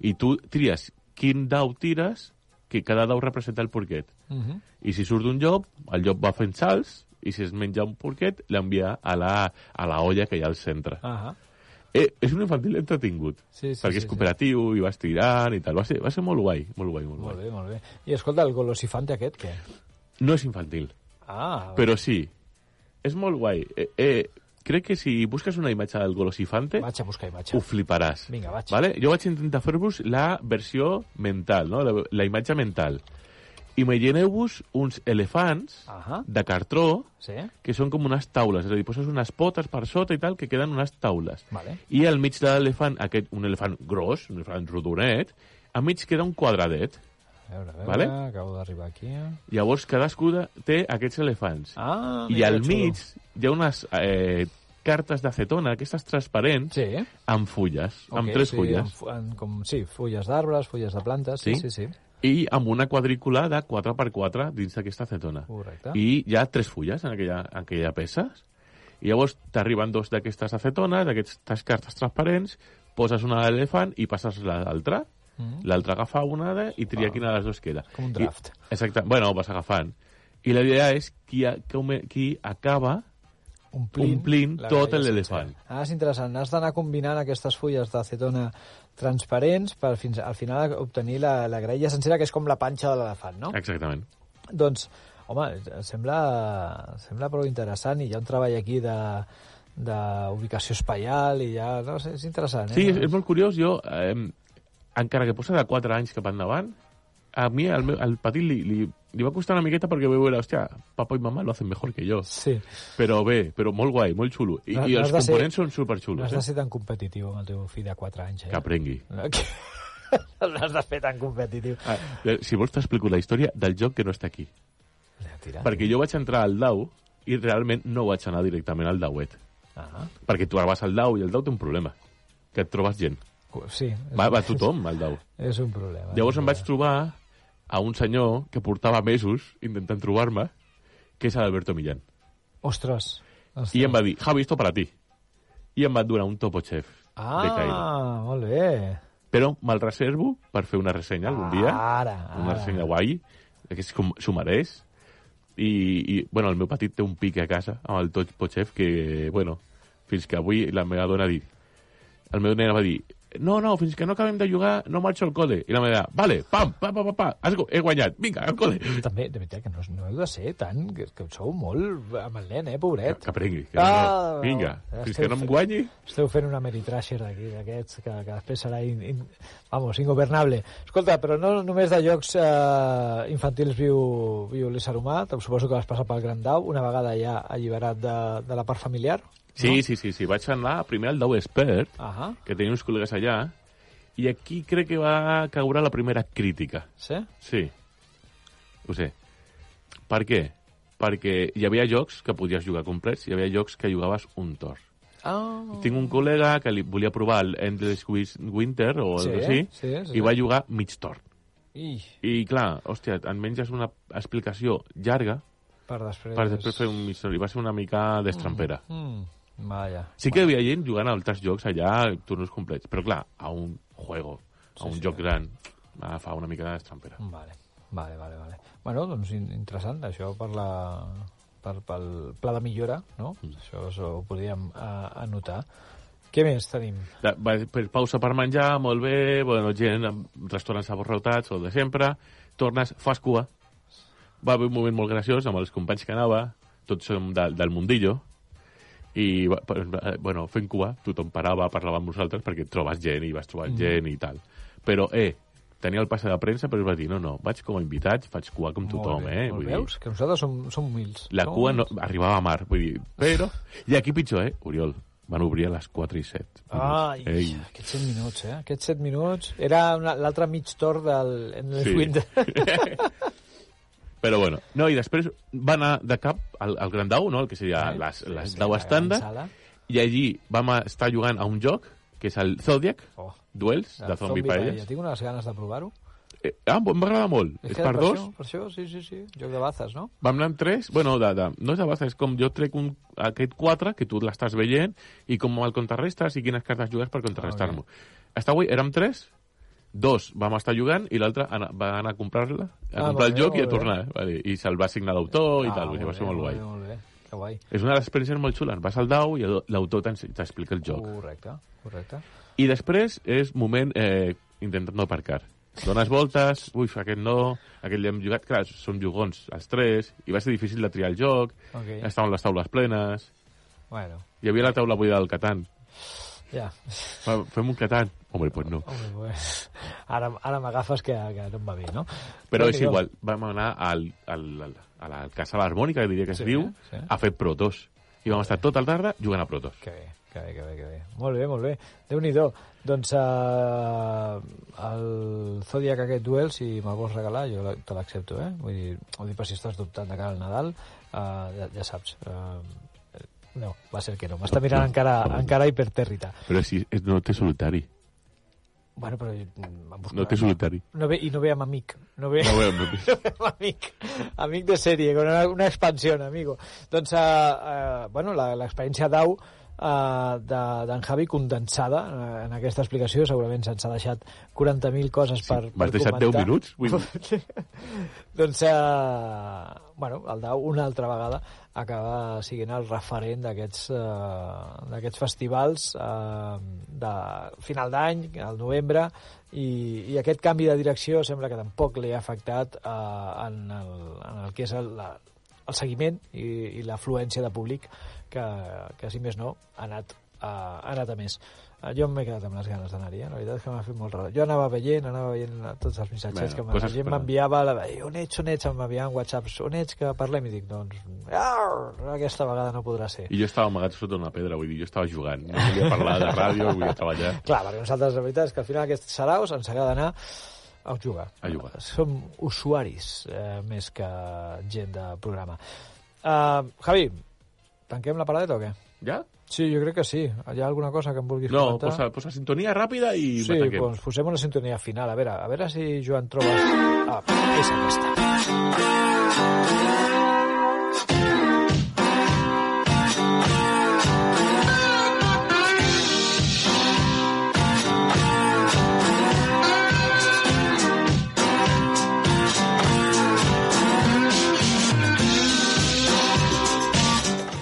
[SPEAKER 3] I tu tries quin dau tires, que cada dau representa el porquet.
[SPEAKER 2] Mhm.
[SPEAKER 3] I si surt d'un llop, el llop va fent salts, i si es menja un porquet, l'envia a la, a la olla que hi ha al centre.
[SPEAKER 2] Ahà.
[SPEAKER 3] Eh, és un infantil entretingut,
[SPEAKER 2] Sí, sí,
[SPEAKER 3] perquè
[SPEAKER 2] sí,
[SPEAKER 3] és
[SPEAKER 2] sí.
[SPEAKER 3] cooperatiu i vas tirant i tal. Va ser, va ser molt guai, molt guai, molt,
[SPEAKER 2] Molt
[SPEAKER 3] guai.
[SPEAKER 2] bé, molt bé. I escolta, el golosifante aquest, què?
[SPEAKER 3] No és infantil,
[SPEAKER 2] Ah,
[SPEAKER 3] Però sí, és molt guai. Eh, eh, crec que si busques una imatge del golosifante,
[SPEAKER 2] vaig a buscar imatge.
[SPEAKER 3] ho fliparàs.
[SPEAKER 2] Vinga, vaig.
[SPEAKER 3] Vale? Jo vaig intentar fer-vos la versió mental, no? la, la imatge mental. Imagineu-vos uns elefants
[SPEAKER 2] Ahà.
[SPEAKER 3] de cartró
[SPEAKER 2] Sí?
[SPEAKER 3] que són com unes taules, és a dir, poses unes potes per sota i tal, que queden unes taules.
[SPEAKER 2] Vale.
[SPEAKER 3] I al mig de l'elefant, aquest, un elefant gros, un elefant rodonet, al mig queda un quadradet.
[SPEAKER 2] A veure, a veure,
[SPEAKER 3] Vale. Ah,
[SPEAKER 2] acabo d'arribar aquí.
[SPEAKER 3] Llavors cadascú de- té aquests elefants.
[SPEAKER 2] Ah,
[SPEAKER 3] I
[SPEAKER 2] mira,
[SPEAKER 3] al
[SPEAKER 2] que xulo.
[SPEAKER 3] mig hi ha unes eh, cartes d'acetona, aquestes transparents,
[SPEAKER 2] Sí.
[SPEAKER 3] amb fulles, amb
[SPEAKER 2] ok,
[SPEAKER 3] tres
[SPEAKER 2] sí,
[SPEAKER 3] fulles.
[SPEAKER 2] amb fu- En, com, sí, fulles d'arbres, fulles de plantes, sí, sí,
[SPEAKER 3] Sí?
[SPEAKER 2] sí.
[SPEAKER 3] I amb una quadrícula de 4x4 dins d'aquesta acetona.
[SPEAKER 2] Correcte.
[SPEAKER 3] I hi ha tres fulles en aquella, en aquella peça. I llavors t'arriben dos d'aquestes acetones, d'aquestes cartes transparents, poses una a l'elefant i passes l'altra.
[SPEAKER 2] Mhm.
[SPEAKER 3] L'altra agafa una de, i tria quina de les dues queda.
[SPEAKER 2] Com un draft.
[SPEAKER 3] I, exacte. Bueno, vas agafant. I la idea és qui, a, com- qui acaba
[SPEAKER 2] Omplint,
[SPEAKER 3] omplint
[SPEAKER 2] la
[SPEAKER 3] tot
[SPEAKER 2] graella
[SPEAKER 3] l'elefant.
[SPEAKER 2] sencera. Ah, és interessant. Has d'anar combinant aquestes fulles d'acetona transparents per fins al final obtenir la, la graella sencera, que és com la panxa de l'elefant, no?
[SPEAKER 3] Exactament.
[SPEAKER 2] Doncs, home, sembla, sembla prou interessant i hi ha un treball aquí de d'ubicació espaial i ja... No, sé, és interessant, eh?
[SPEAKER 3] Sí, és, és molt curiós. Jo, eh, encara que posa de 4 anys cap endavant, a mi, al, meu, al petit, li, li, li va costar una miqueta perquè veu veure, hòstia, papa i mama lo hacen mejor que jo.
[SPEAKER 2] Sí,
[SPEAKER 3] Però bé, però molt guai, molt xulo. I,
[SPEAKER 2] No-
[SPEAKER 3] i
[SPEAKER 2] no has
[SPEAKER 3] els
[SPEAKER 2] de ser-
[SPEAKER 3] components són
[SPEAKER 2] no
[SPEAKER 3] superxulos.
[SPEAKER 2] has de
[SPEAKER 3] Eh?
[SPEAKER 2] ser tan competitiu amb el teu fill de 4 anys, eh?
[SPEAKER 3] Que aprengui.
[SPEAKER 2] No, que... (laughs) no has de fer tan competitiu.
[SPEAKER 3] Ah, eh, si vols t'explico la història del joc que no està aquí.
[SPEAKER 2] Tira.
[SPEAKER 3] Perquè jo vaig entrar al DAO i realment no vaig anar directament al DAOet.
[SPEAKER 2] Ah,
[SPEAKER 3] Perquè tu ara vas al DAO i el DAO té un problema, que et trobes gent.
[SPEAKER 2] cu- sí, és,
[SPEAKER 3] Va, va tothom al DAO.
[SPEAKER 2] és un problema.
[SPEAKER 3] Llavors em vaig trobar a un senyor que portava mesos intentant trobar-me, que és l'Alberto Millán.
[SPEAKER 2] Ostres. Ostres.
[SPEAKER 3] I em va dir, Javi, esto para ti. I em va donar un topo chef de Cairo.
[SPEAKER 2] Ah, molt bé.
[SPEAKER 3] Però me'l reservo per fer una ressenya algun dia.
[SPEAKER 2] Ara,
[SPEAKER 3] Una
[SPEAKER 2] ara.
[SPEAKER 3] ressenya guai, que s'ho s'ho mereix. I, I, bueno, el meu petit té un pic a casa amb el Toch Pochef que, bueno, fins que avui la meva dona ha dit... El meu nen va dir, no, no, fins que no acabem de jugar no marxo al col·le. I la meva dona, vale, pam, pam, pam, pam, pam has, gu- he guanyat, vinga, al col·le.
[SPEAKER 2] També, de veritat, que no, no heu de ser tant, que, que sou molt amb el nen, eh,
[SPEAKER 3] Que,
[SPEAKER 2] pobret.
[SPEAKER 3] que prengui, que
[SPEAKER 2] Ah,
[SPEAKER 3] no, vinga,
[SPEAKER 2] no,
[SPEAKER 3] fins
[SPEAKER 2] estem
[SPEAKER 3] que no em
[SPEAKER 2] fent-
[SPEAKER 3] guanyi...
[SPEAKER 2] Esteu fent una meritrasher d'aquí, d'aquests, que, que després serà, in, in, vamos, ingobernable. Escolta, però no només de llocs eh, infantils viu, viu l'ésser humà, te- suposo que vas passar pel Gran Dau, una vegada ja alliberat de, de la part familiar.
[SPEAKER 3] Sí, sí, sí, sí, vaig anar primer al Dau Expert,
[SPEAKER 2] Ahà,
[SPEAKER 3] que tenia uns col·legues allà, i aquí crec que va caure la primera crítica.
[SPEAKER 2] sí?
[SPEAKER 3] Sí, ho sé. Per què? Perquè hi havia jocs que podies jugar complets i hi havia jocs que jugaves un torn.
[SPEAKER 2] Oh.
[SPEAKER 3] Tinc un col·lega que li volia provar el Endless Quiz Winter o
[SPEAKER 2] Sí,
[SPEAKER 3] algo així,
[SPEAKER 2] sí, sí.
[SPEAKER 3] i va jugar mig torn.
[SPEAKER 2] I,
[SPEAKER 3] I clar, hòstia, et menges una explicació llarga
[SPEAKER 2] per després...
[SPEAKER 3] per després fer un mig torn. I va ser una mica destrampera.
[SPEAKER 2] Mm, vaja.
[SPEAKER 3] Sí que hi havia gent jugant a altres jocs allà, turnos complets, però clar, a un juego, a un joc gran, ah, fa una mica d'estrampera.
[SPEAKER 2] Vale, vale, vale, vale. Bueno, doncs in- interessant, això per la per, pel pla de millora, no?
[SPEAKER 3] Mm.
[SPEAKER 2] Això us ho podríem eh, anotar. Què més tenim?
[SPEAKER 3] Da- va- Per pausa per menjar, molt bé, bueno, gent amb restaurants aborrotats, el de sempre, tornes, fas cua. Va haver un moment molt graciós amb els companys que anava, tots som de, del mundillo, i va- per- eh, bueno, fent cua, tothom parava, parlava amb nosaltres, perquè trobes gent i vas trobant mm. gent i tal. Però, eh, tenia el passe de premsa, però es va dir, no, no, vaig com a invitat, faig cua com tothom,
[SPEAKER 2] Molt bé,
[SPEAKER 3] eh?
[SPEAKER 2] Molt
[SPEAKER 3] Vull dir,
[SPEAKER 2] veus? Que nosaltres som, som humils.
[SPEAKER 3] La
[SPEAKER 2] Som
[SPEAKER 3] cua no,
[SPEAKER 2] humils.
[SPEAKER 3] arribava a mar, vull dir, però... I aquí pitjor, eh, Oriol? Van obrir a les 4 i 7.
[SPEAKER 2] Ai,
[SPEAKER 3] Ei.
[SPEAKER 2] aquests 7 minuts, eh? Aquests 7 minuts... Era una- l'altre mig tor del... En el
[SPEAKER 3] Sí.
[SPEAKER 2] Winter.
[SPEAKER 3] (laughs) Però bueno, no, i després va anar de cap al, al Grand Dau, no? el que seria
[SPEAKER 2] Sí,
[SPEAKER 3] les,
[SPEAKER 2] Ah, sí,
[SPEAKER 3] les
[SPEAKER 2] sí,
[SPEAKER 3] Dau
[SPEAKER 2] la gran
[SPEAKER 3] estàndard,
[SPEAKER 2] sala.
[SPEAKER 3] i allí vam a- estar jugant a un joc, que és el Zodiac,
[SPEAKER 2] Oh.
[SPEAKER 3] Duels,
[SPEAKER 2] El
[SPEAKER 3] de Zombie Paelles.
[SPEAKER 2] Tinc unes ganes de provar-ho.
[SPEAKER 3] Eh, ah, em va agradar molt. És,
[SPEAKER 2] que
[SPEAKER 3] per dos,
[SPEAKER 2] Això, per això, sí, sí, sí. Joc de bazes, no?
[SPEAKER 3] vam anar amb tres, bueno, de, de, no és de base, és com jo trec un, aquest quatre, que tu l'estàs veient, i com el contrarrestes i quines cartes jugues per
[SPEAKER 2] Ah,
[SPEAKER 3] contrarrestar-m'ho. Està guai, érem tres, dos vam estar jugant i l'altre ana- va anar a comprar-la, a
[SPEAKER 2] Ah,
[SPEAKER 3] comprar
[SPEAKER 2] molt
[SPEAKER 3] el
[SPEAKER 2] bé,
[SPEAKER 3] joc i a
[SPEAKER 2] molt bé. Ah,
[SPEAKER 3] tornar. eh? Va dir, I se'l va signar l'autor i tal,
[SPEAKER 2] molt
[SPEAKER 3] vull dir, va
[SPEAKER 2] bé,
[SPEAKER 3] ser molt guai.
[SPEAKER 2] Molt bé, molt bé. Que guai.
[SPEAKER 3] És una de les experiències molt xules. Vas al dau i el- l'autor t'ens- t'explica el joc.
[SPEAKER 2] Correcte, correcte.
[SPEAKER 3] I després és moment eh, intentant no aparcar. Dones voltes, ui, aquest no, aquest l'hem jugat, clar, som jugons els tres, i va ser difícil de triar el joc,
[SPEAKER 2] Ok.
[SPEAKER 3] estaven les taules plenes,
[SPEAKER 2] Bueno,
[SPEAKER 3] hi havia la taula buida del Catan.
[SPEAKER 2] ja. (laughs)
[SPEAKER 3] Va, Fem un Catan? Home, pues no.
[SPEAKER 2] Home, pues, ara ara m'agafes que, que no em va bé, no?
[SPEAKER 3] Però és
[SPEAKER 2] Déu-n'hi-do.
[SPEAKER 3] igual, vam anar al, al, al, a la Casa de l'Harmònica, que diria que es
[SPEAKER 2] Sí,
[SPEAKER 3] diu,
[SPEAKER 2] sí.
[SPEAKER 3] a fer protos. I vam estar tota la tarda jugant a protos.
[SPEAKER 2] Que bé, que bé, que bé, que bé. Molt bé, molt bé. Déu-n'hi-do. Doncs uh, el Zodiac aquest duel, si me'l vols regalar, jo la- te l'accepto, eh? Vull dir, ho dic per si estàs dubtant de cara al Nadal, uh, ja, ja saps. Uh, no, va ser que no. M'està mirant encara, encara hipertèrrita.
[SPEAKER 3] Però si és- no té solitari.
[SPEAKER 2] Bueno, però... mm, em
[SPEAKER 3] No té
[SPEAKER 2] buscarà-
[SPEAKER 3] solitari.
[SPEAKER 2] No ve, I no ve amb amic. No ve,
[SPEAKER 3] No ho veiem.
[SPEAKER 2] (laughs) amic, amic de sèrie, con una, una expansió, amigo. Doncs, uh, uh, bueno, la- l'experiència d'Au uh, d'en Javi condensada eh, en aquesta explicació, segurament se'ns ha deixat 40.000 coses per, per
[SPEAKER 3] M'has deixat 10
[SPEAKER 2] comentar.
[SPEAKER 3] minuts? Vull dir,
[SPEAKER 2] (laughs) Doncs, eh, bueno, el Dau una altra vegada acaba siguent el referent d'aquests eh, d'aquests festivals eh, de final d'any, al novembre, i, i aquest canvi de direcció sembla que tampoc li ha afectat eh, en, el, en el que és el, la, el seguiment i, i l'afluència de públic que, que, si més no, ha anat, eh, ha anat a més. Eh, Jo m'he quedat amb les ganes d'anar-hi, eh? la veritat és que m'ha fet molt raro. Jo anava veient, anava veient tots els missatges
[SPEAKER 3] Bueno,
[SPEAKER 2] bueno, que
[SPEAKER 3] coses
[SPEAKER 2] la gent
[SPEAKER 3] que no.
[SPEAKER 2] m'enviava, la... "Ei, on ets, on ets, em enviaven whatsapps, on ets, que parlem, i dic, doncs, arr, aquesta vegada no podrà ser.
[SPEAKER 3] I jo estava amagat sota una pedra, vull dir, jo estava jugant. No volia parlar de ràdio, volia treballar.
[SPEAKER 2] Clar, perquè nosaltres la veritat és que al final aquests saraus ens agrada anar a jugar.
[SPEAKER 3] A jugar.
[SPEAKER 2] Som usuaris eh, més que gent de programa. Uh, Javi, Ehm, tanquem la paradeta o què?
[SPEAKER 3] Ja?
[SPEAKER 2] Sí, jo crec que sí. Hi ha alguna cosa que em vulguis
[SPEAKER 3] No,
[SPEAKER 2] comentar?
[SPEAKER 3] posa, posa sintonia ràpida i
[SPEAKER 2] Sí,
[SPEAKER 3] m'ataquem.
[SPEAKER 2] doncs posem una sintonia final. A veure, a veure si Joan trobes... Ah, és aquesta.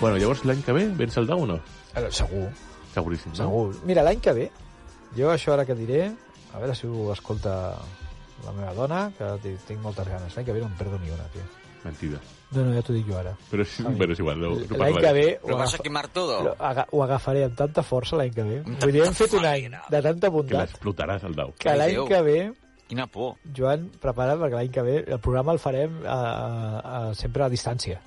[SPEAKER 3] Bueno, llavors l'any que ve vens al Dau o no?
[SPEAKER 2] Eh, Segur,
[SPEAKER 3] Seguríssim, no?
[SPEAKER 2] segur. Mira, l'any que ve, jo això ara que diré, a veure si ho escolta la meva dona, que ti- tinc moltes ganes. L'any que ve no em perdo ni una, tio.
[SPEAKER 3] Mentida.
[SPEAKER 2] No, no, ja t'ho dic jo ara.
[SPEAKER 3] Però, sí,
[SPEAKER 2] Ai.
[SPEAKER 3] però és igual, no, no
[SPEAKER 2] L'any que
[SPEAKER 3] parlarem.
[SPEAKER 2] ve ho,
[SPEAKER 5] ¿Lo vas a
[SPEAKER 2] agafa,
[SPEAKER 5] quemar todo?
[SPEAKER 2] lo aga- ho agafaré amb tanta força l'any que ve. Vull dir, hem fet un any de tanta
[SPEAKER 3] Que
[SPEAKER 2] bondat
[SPEAKER 3] l'explotaràs al Dau.
[SPEAKER 2] que l'any
[SPEAKER 5] Déu.
[SPEAKER 2] que ve,
[SPEAKER 5] Quina por.
[SPEAKER 2] Joan, prepara't perquè l'any que ve el programa el farem a, a, a, sempre a distància.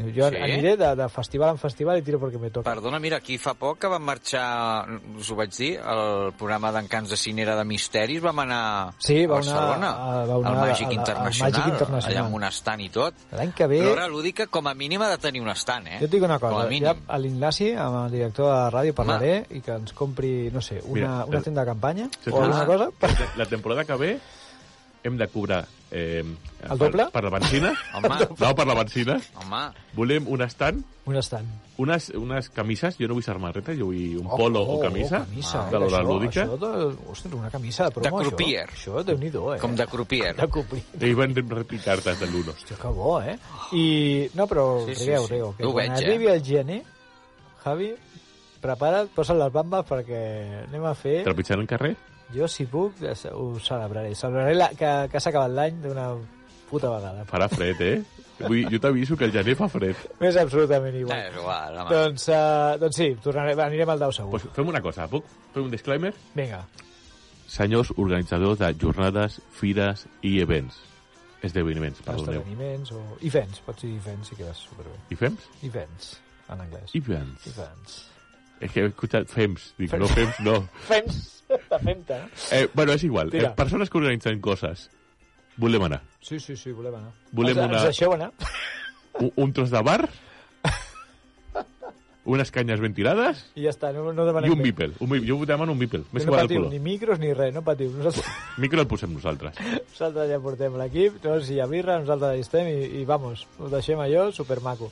[SPEAKER 2] Jo sí?
[SPEAKER 5] Sí?
[SPEAKER 2] aniré de, de festival en festival i tiro perquè me toca.
[SPEAKER 5] Perdona, mira, aquí fa poc que vam marxar, us ho vaig dir, el programa d'Encants de Cinera de Misteris, vam anar
[SPEAKER 2] Sí, va
[SPEAKER 5] a Barcelona,
[SPEAKER 2] anar- a- va anar
[SPEAKER 5] al Màgic
[SPEAKER 2] a- a- al
[SPEAKER 5] Internacional,
[SPEAKER 2] Màgic Internacional.
[SPEAKER 5] allà amb un estant i tot.
[SPEAKER 2] L'any que ve...
[SPEAKER 5] L'hora lúdica, com a mínim, ha de tenir un estant, eh?
[SPEAKER 2] Jo et dic una
[SPEAKER 5] Com
[SPEAKER 2] cosa,
[SPEAKER 5] a mínim.
[SPEAKER 2] ja a l'Ignasi, amb el director de la ràdio, parlaré i que ens compri, no sé, una,
[SPEAKER 3] Mira,
[SPEAKER 2] una
[SPEAKER 3] el-
[SPEAKER 2] tenda de campanya
[SPEAKER 3] Sí,
[SPEAKER 2] o
[SPEAKER 5] Ah.
[SPEAKER 2] alguna
[SPEAKER 3] clar.
[SPEAKER 2] cosa. Per...
[SPEAKER 3] La temporada que ve hem de cobrar... Eh, per-
[SPEAKER 2] doble?
[SPEAKER 3] Per la
[SPEAKER 2] (laughs)
[SPEAKER 3] benzina.
[SPEAKER 5] Home.
[SPEAKER 3] No, per la benzina.
[SPEAKER 5] Home,
[SPEAKER 3] Volem un estant,
[SPEAKER 2] Un estant.
[SPEAKER 3] unes, unes camises, jo no vull samarreta, jo vull un polo o camisa,
[SPEAKER 2] Oh,
[SPEAKER 5] Ah,
[SPEAKER 2] camisa
[SPEAKER 3] de l'hora
[SPEAKER 2] això,
[SPEAKER 3] lúdica.
[SPEAKER 2] Això de, ostres, una camisa de promo,
[SPEAKER 5] crupier.
[SPEAKER 2] això. Això, Déu-n'hi-do, eh?
[SPEAKER 5] com de
[SPEAKER 2] (laughs)
[SPEAKER 5] crupier.
[SPEAKER 2] De crupier.
[SPEAKER 3] I van repicar des de l'uno.
[SPEAKER 2] Hòstia, que bo, eh? I... No, però
[SPEAKER 5] Sí, sí,
[SPEAKER 2] rigueu,
[SPEAKER 5] sí.
[SPEAKER 2] rigueu. Que
[SPEAKER 5] Ho
[SPEAKER 2] quan
[SPEAKER 5] veig, eh?
[SPEAKER 2] arribi el gener, Javi, prepara't, posa't les bambes perquè anem a fer...
[SPEAKER 3] Trepitjant el carrer?
[SPEAKER 2] Jo, si puc, es- ho celebraré. Celebraré la, que, que s'ha acabat l'any d'una puta vegada.
[SPEAKER 3] Farà fred, eh? Vull, jo t'aviso que el gener fa fred.
[SPEAKER 2] M'és absolutament igual.
[SPEAKER 3] Eh,
[SPEAKER 5] és igual, home.
[SPEAKER 2] Doncs, uh, doncs sí, tornarem, anirem al Dau segur.
[SPEAKER 3] Pues fem una cosa, puc fer un disclaimer?
[SPEAKER 2] Vinga.
[SPEAKER 3] Senyors organitzadors de jornades, fires i events. Esdeveniments, perdoneu.
[SPEAKER 2] Esdeveniments o... Events, pots dir events, sí que és superbé.
[SPEAKER 3] I fems?
[SPEAKER 2] Events, en anglès.
[SPEAKER 3] Events.
[SPEAKER 2] Events.
[SPEAKER 3] És que he escoltat fems. Dic, no fems, no.
[SPEAKER 2] Fems, de femta.
[SPEAKER 3] Eh, bueno, és igual.
[SPEAKER 2] Tira.
[SPEAKER 3] Eh, persones que organitzen coses. Volem anar.
[SPEAKER 2] Sí, sí, sí, volem anar.
[SPEAKER 3] Volem
[SPEAKER 2] ens,
[SPEAKER 3] una-
[SPEAKER 2] ens deixeu anar?
[SPEAKER 3] Un, un tros de bar, unes canyes ben tirades
[SPEAKER 2] I ja està, no, no
[SPEAKER 3] i
[SPEAKER 2] demanem
[SPEAKER 3] un
[SPEAKER 2] més.
[SPEAKER 3] bipel. Un, bip- jo demano un bipel. M'és
[SPEAKER 2] no
[SPEAKER 3] igual el
[SPEAKER 2] patiu, ni
[SPEAKER 3] color.
[SPEAKER 2] micros ni res, no patiu. Nosaltres, (laughs)
[SPEAKER 3] Micro el posem nosaltres.
[SPEAKER 2] nosaltres ja portem l'equip, no, si hi ha birra, nosaltres hi estem i, i vamos, ho deixem allò supermaco.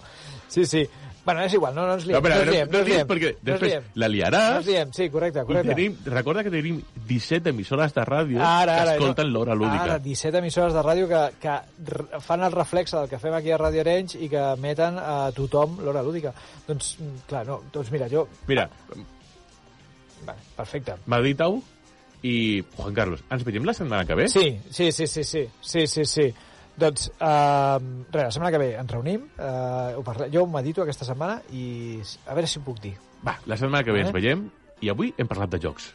[SPEAKER 2] Sí, sí. Bueno, és igual, no, no ens liem.
[SPEAKER 3] No, espera,
[SPEAKER 2] no, ens liem,
[SPEAKER 3] no, no,
[SPEAKER 2] ens liem,
[SPEAKER 3] perquè
[SPEAKER 2] no ens
[SPEAKER 3] després
[SPEAKER 2] liem.
[SPEAKER 3] la
[SPEAKER 2] No ens
[SPEAKER 3] liaràs.
[SPEAKER 2] liem, sí, correcte,
[SPEAKER 3] I
[SPEAKER 2] correcte.
[SPEAKER 3] tenim, recorda que tenim 17 emissores de ràdio que escolten l'hora lúdica.
[SPEAKER 2] Ara, 17 emissores de ràdio que, que r- fan el reflex del que fem aquí a Ràdio Arenys i que emeten a tothom l'hora lúdica. Doncs, mm, clar, no, doncs mira, jo...
[SPEAKER 3] Mira,
[SPEAKER 2] Vale, perfecte.
[SPEAKER 3] Madrid-Au i Juan Carlos. Ens veiem la setmana que ve?
[SPEAKER 2] Sí, sí, sí, sí, sí, sí, sí, sí. Doncs, uh, res, la setmana que ve ens reunim, uh, ho parla... jo ho medito aquesta setmana i s- a veure si ho puc dir.
[SPEAKER 3] Va, la setmana que ve ens
[SPEAKER 2] Eh?
[SPEAKER 3] veiem i avui hem parlat de jocs.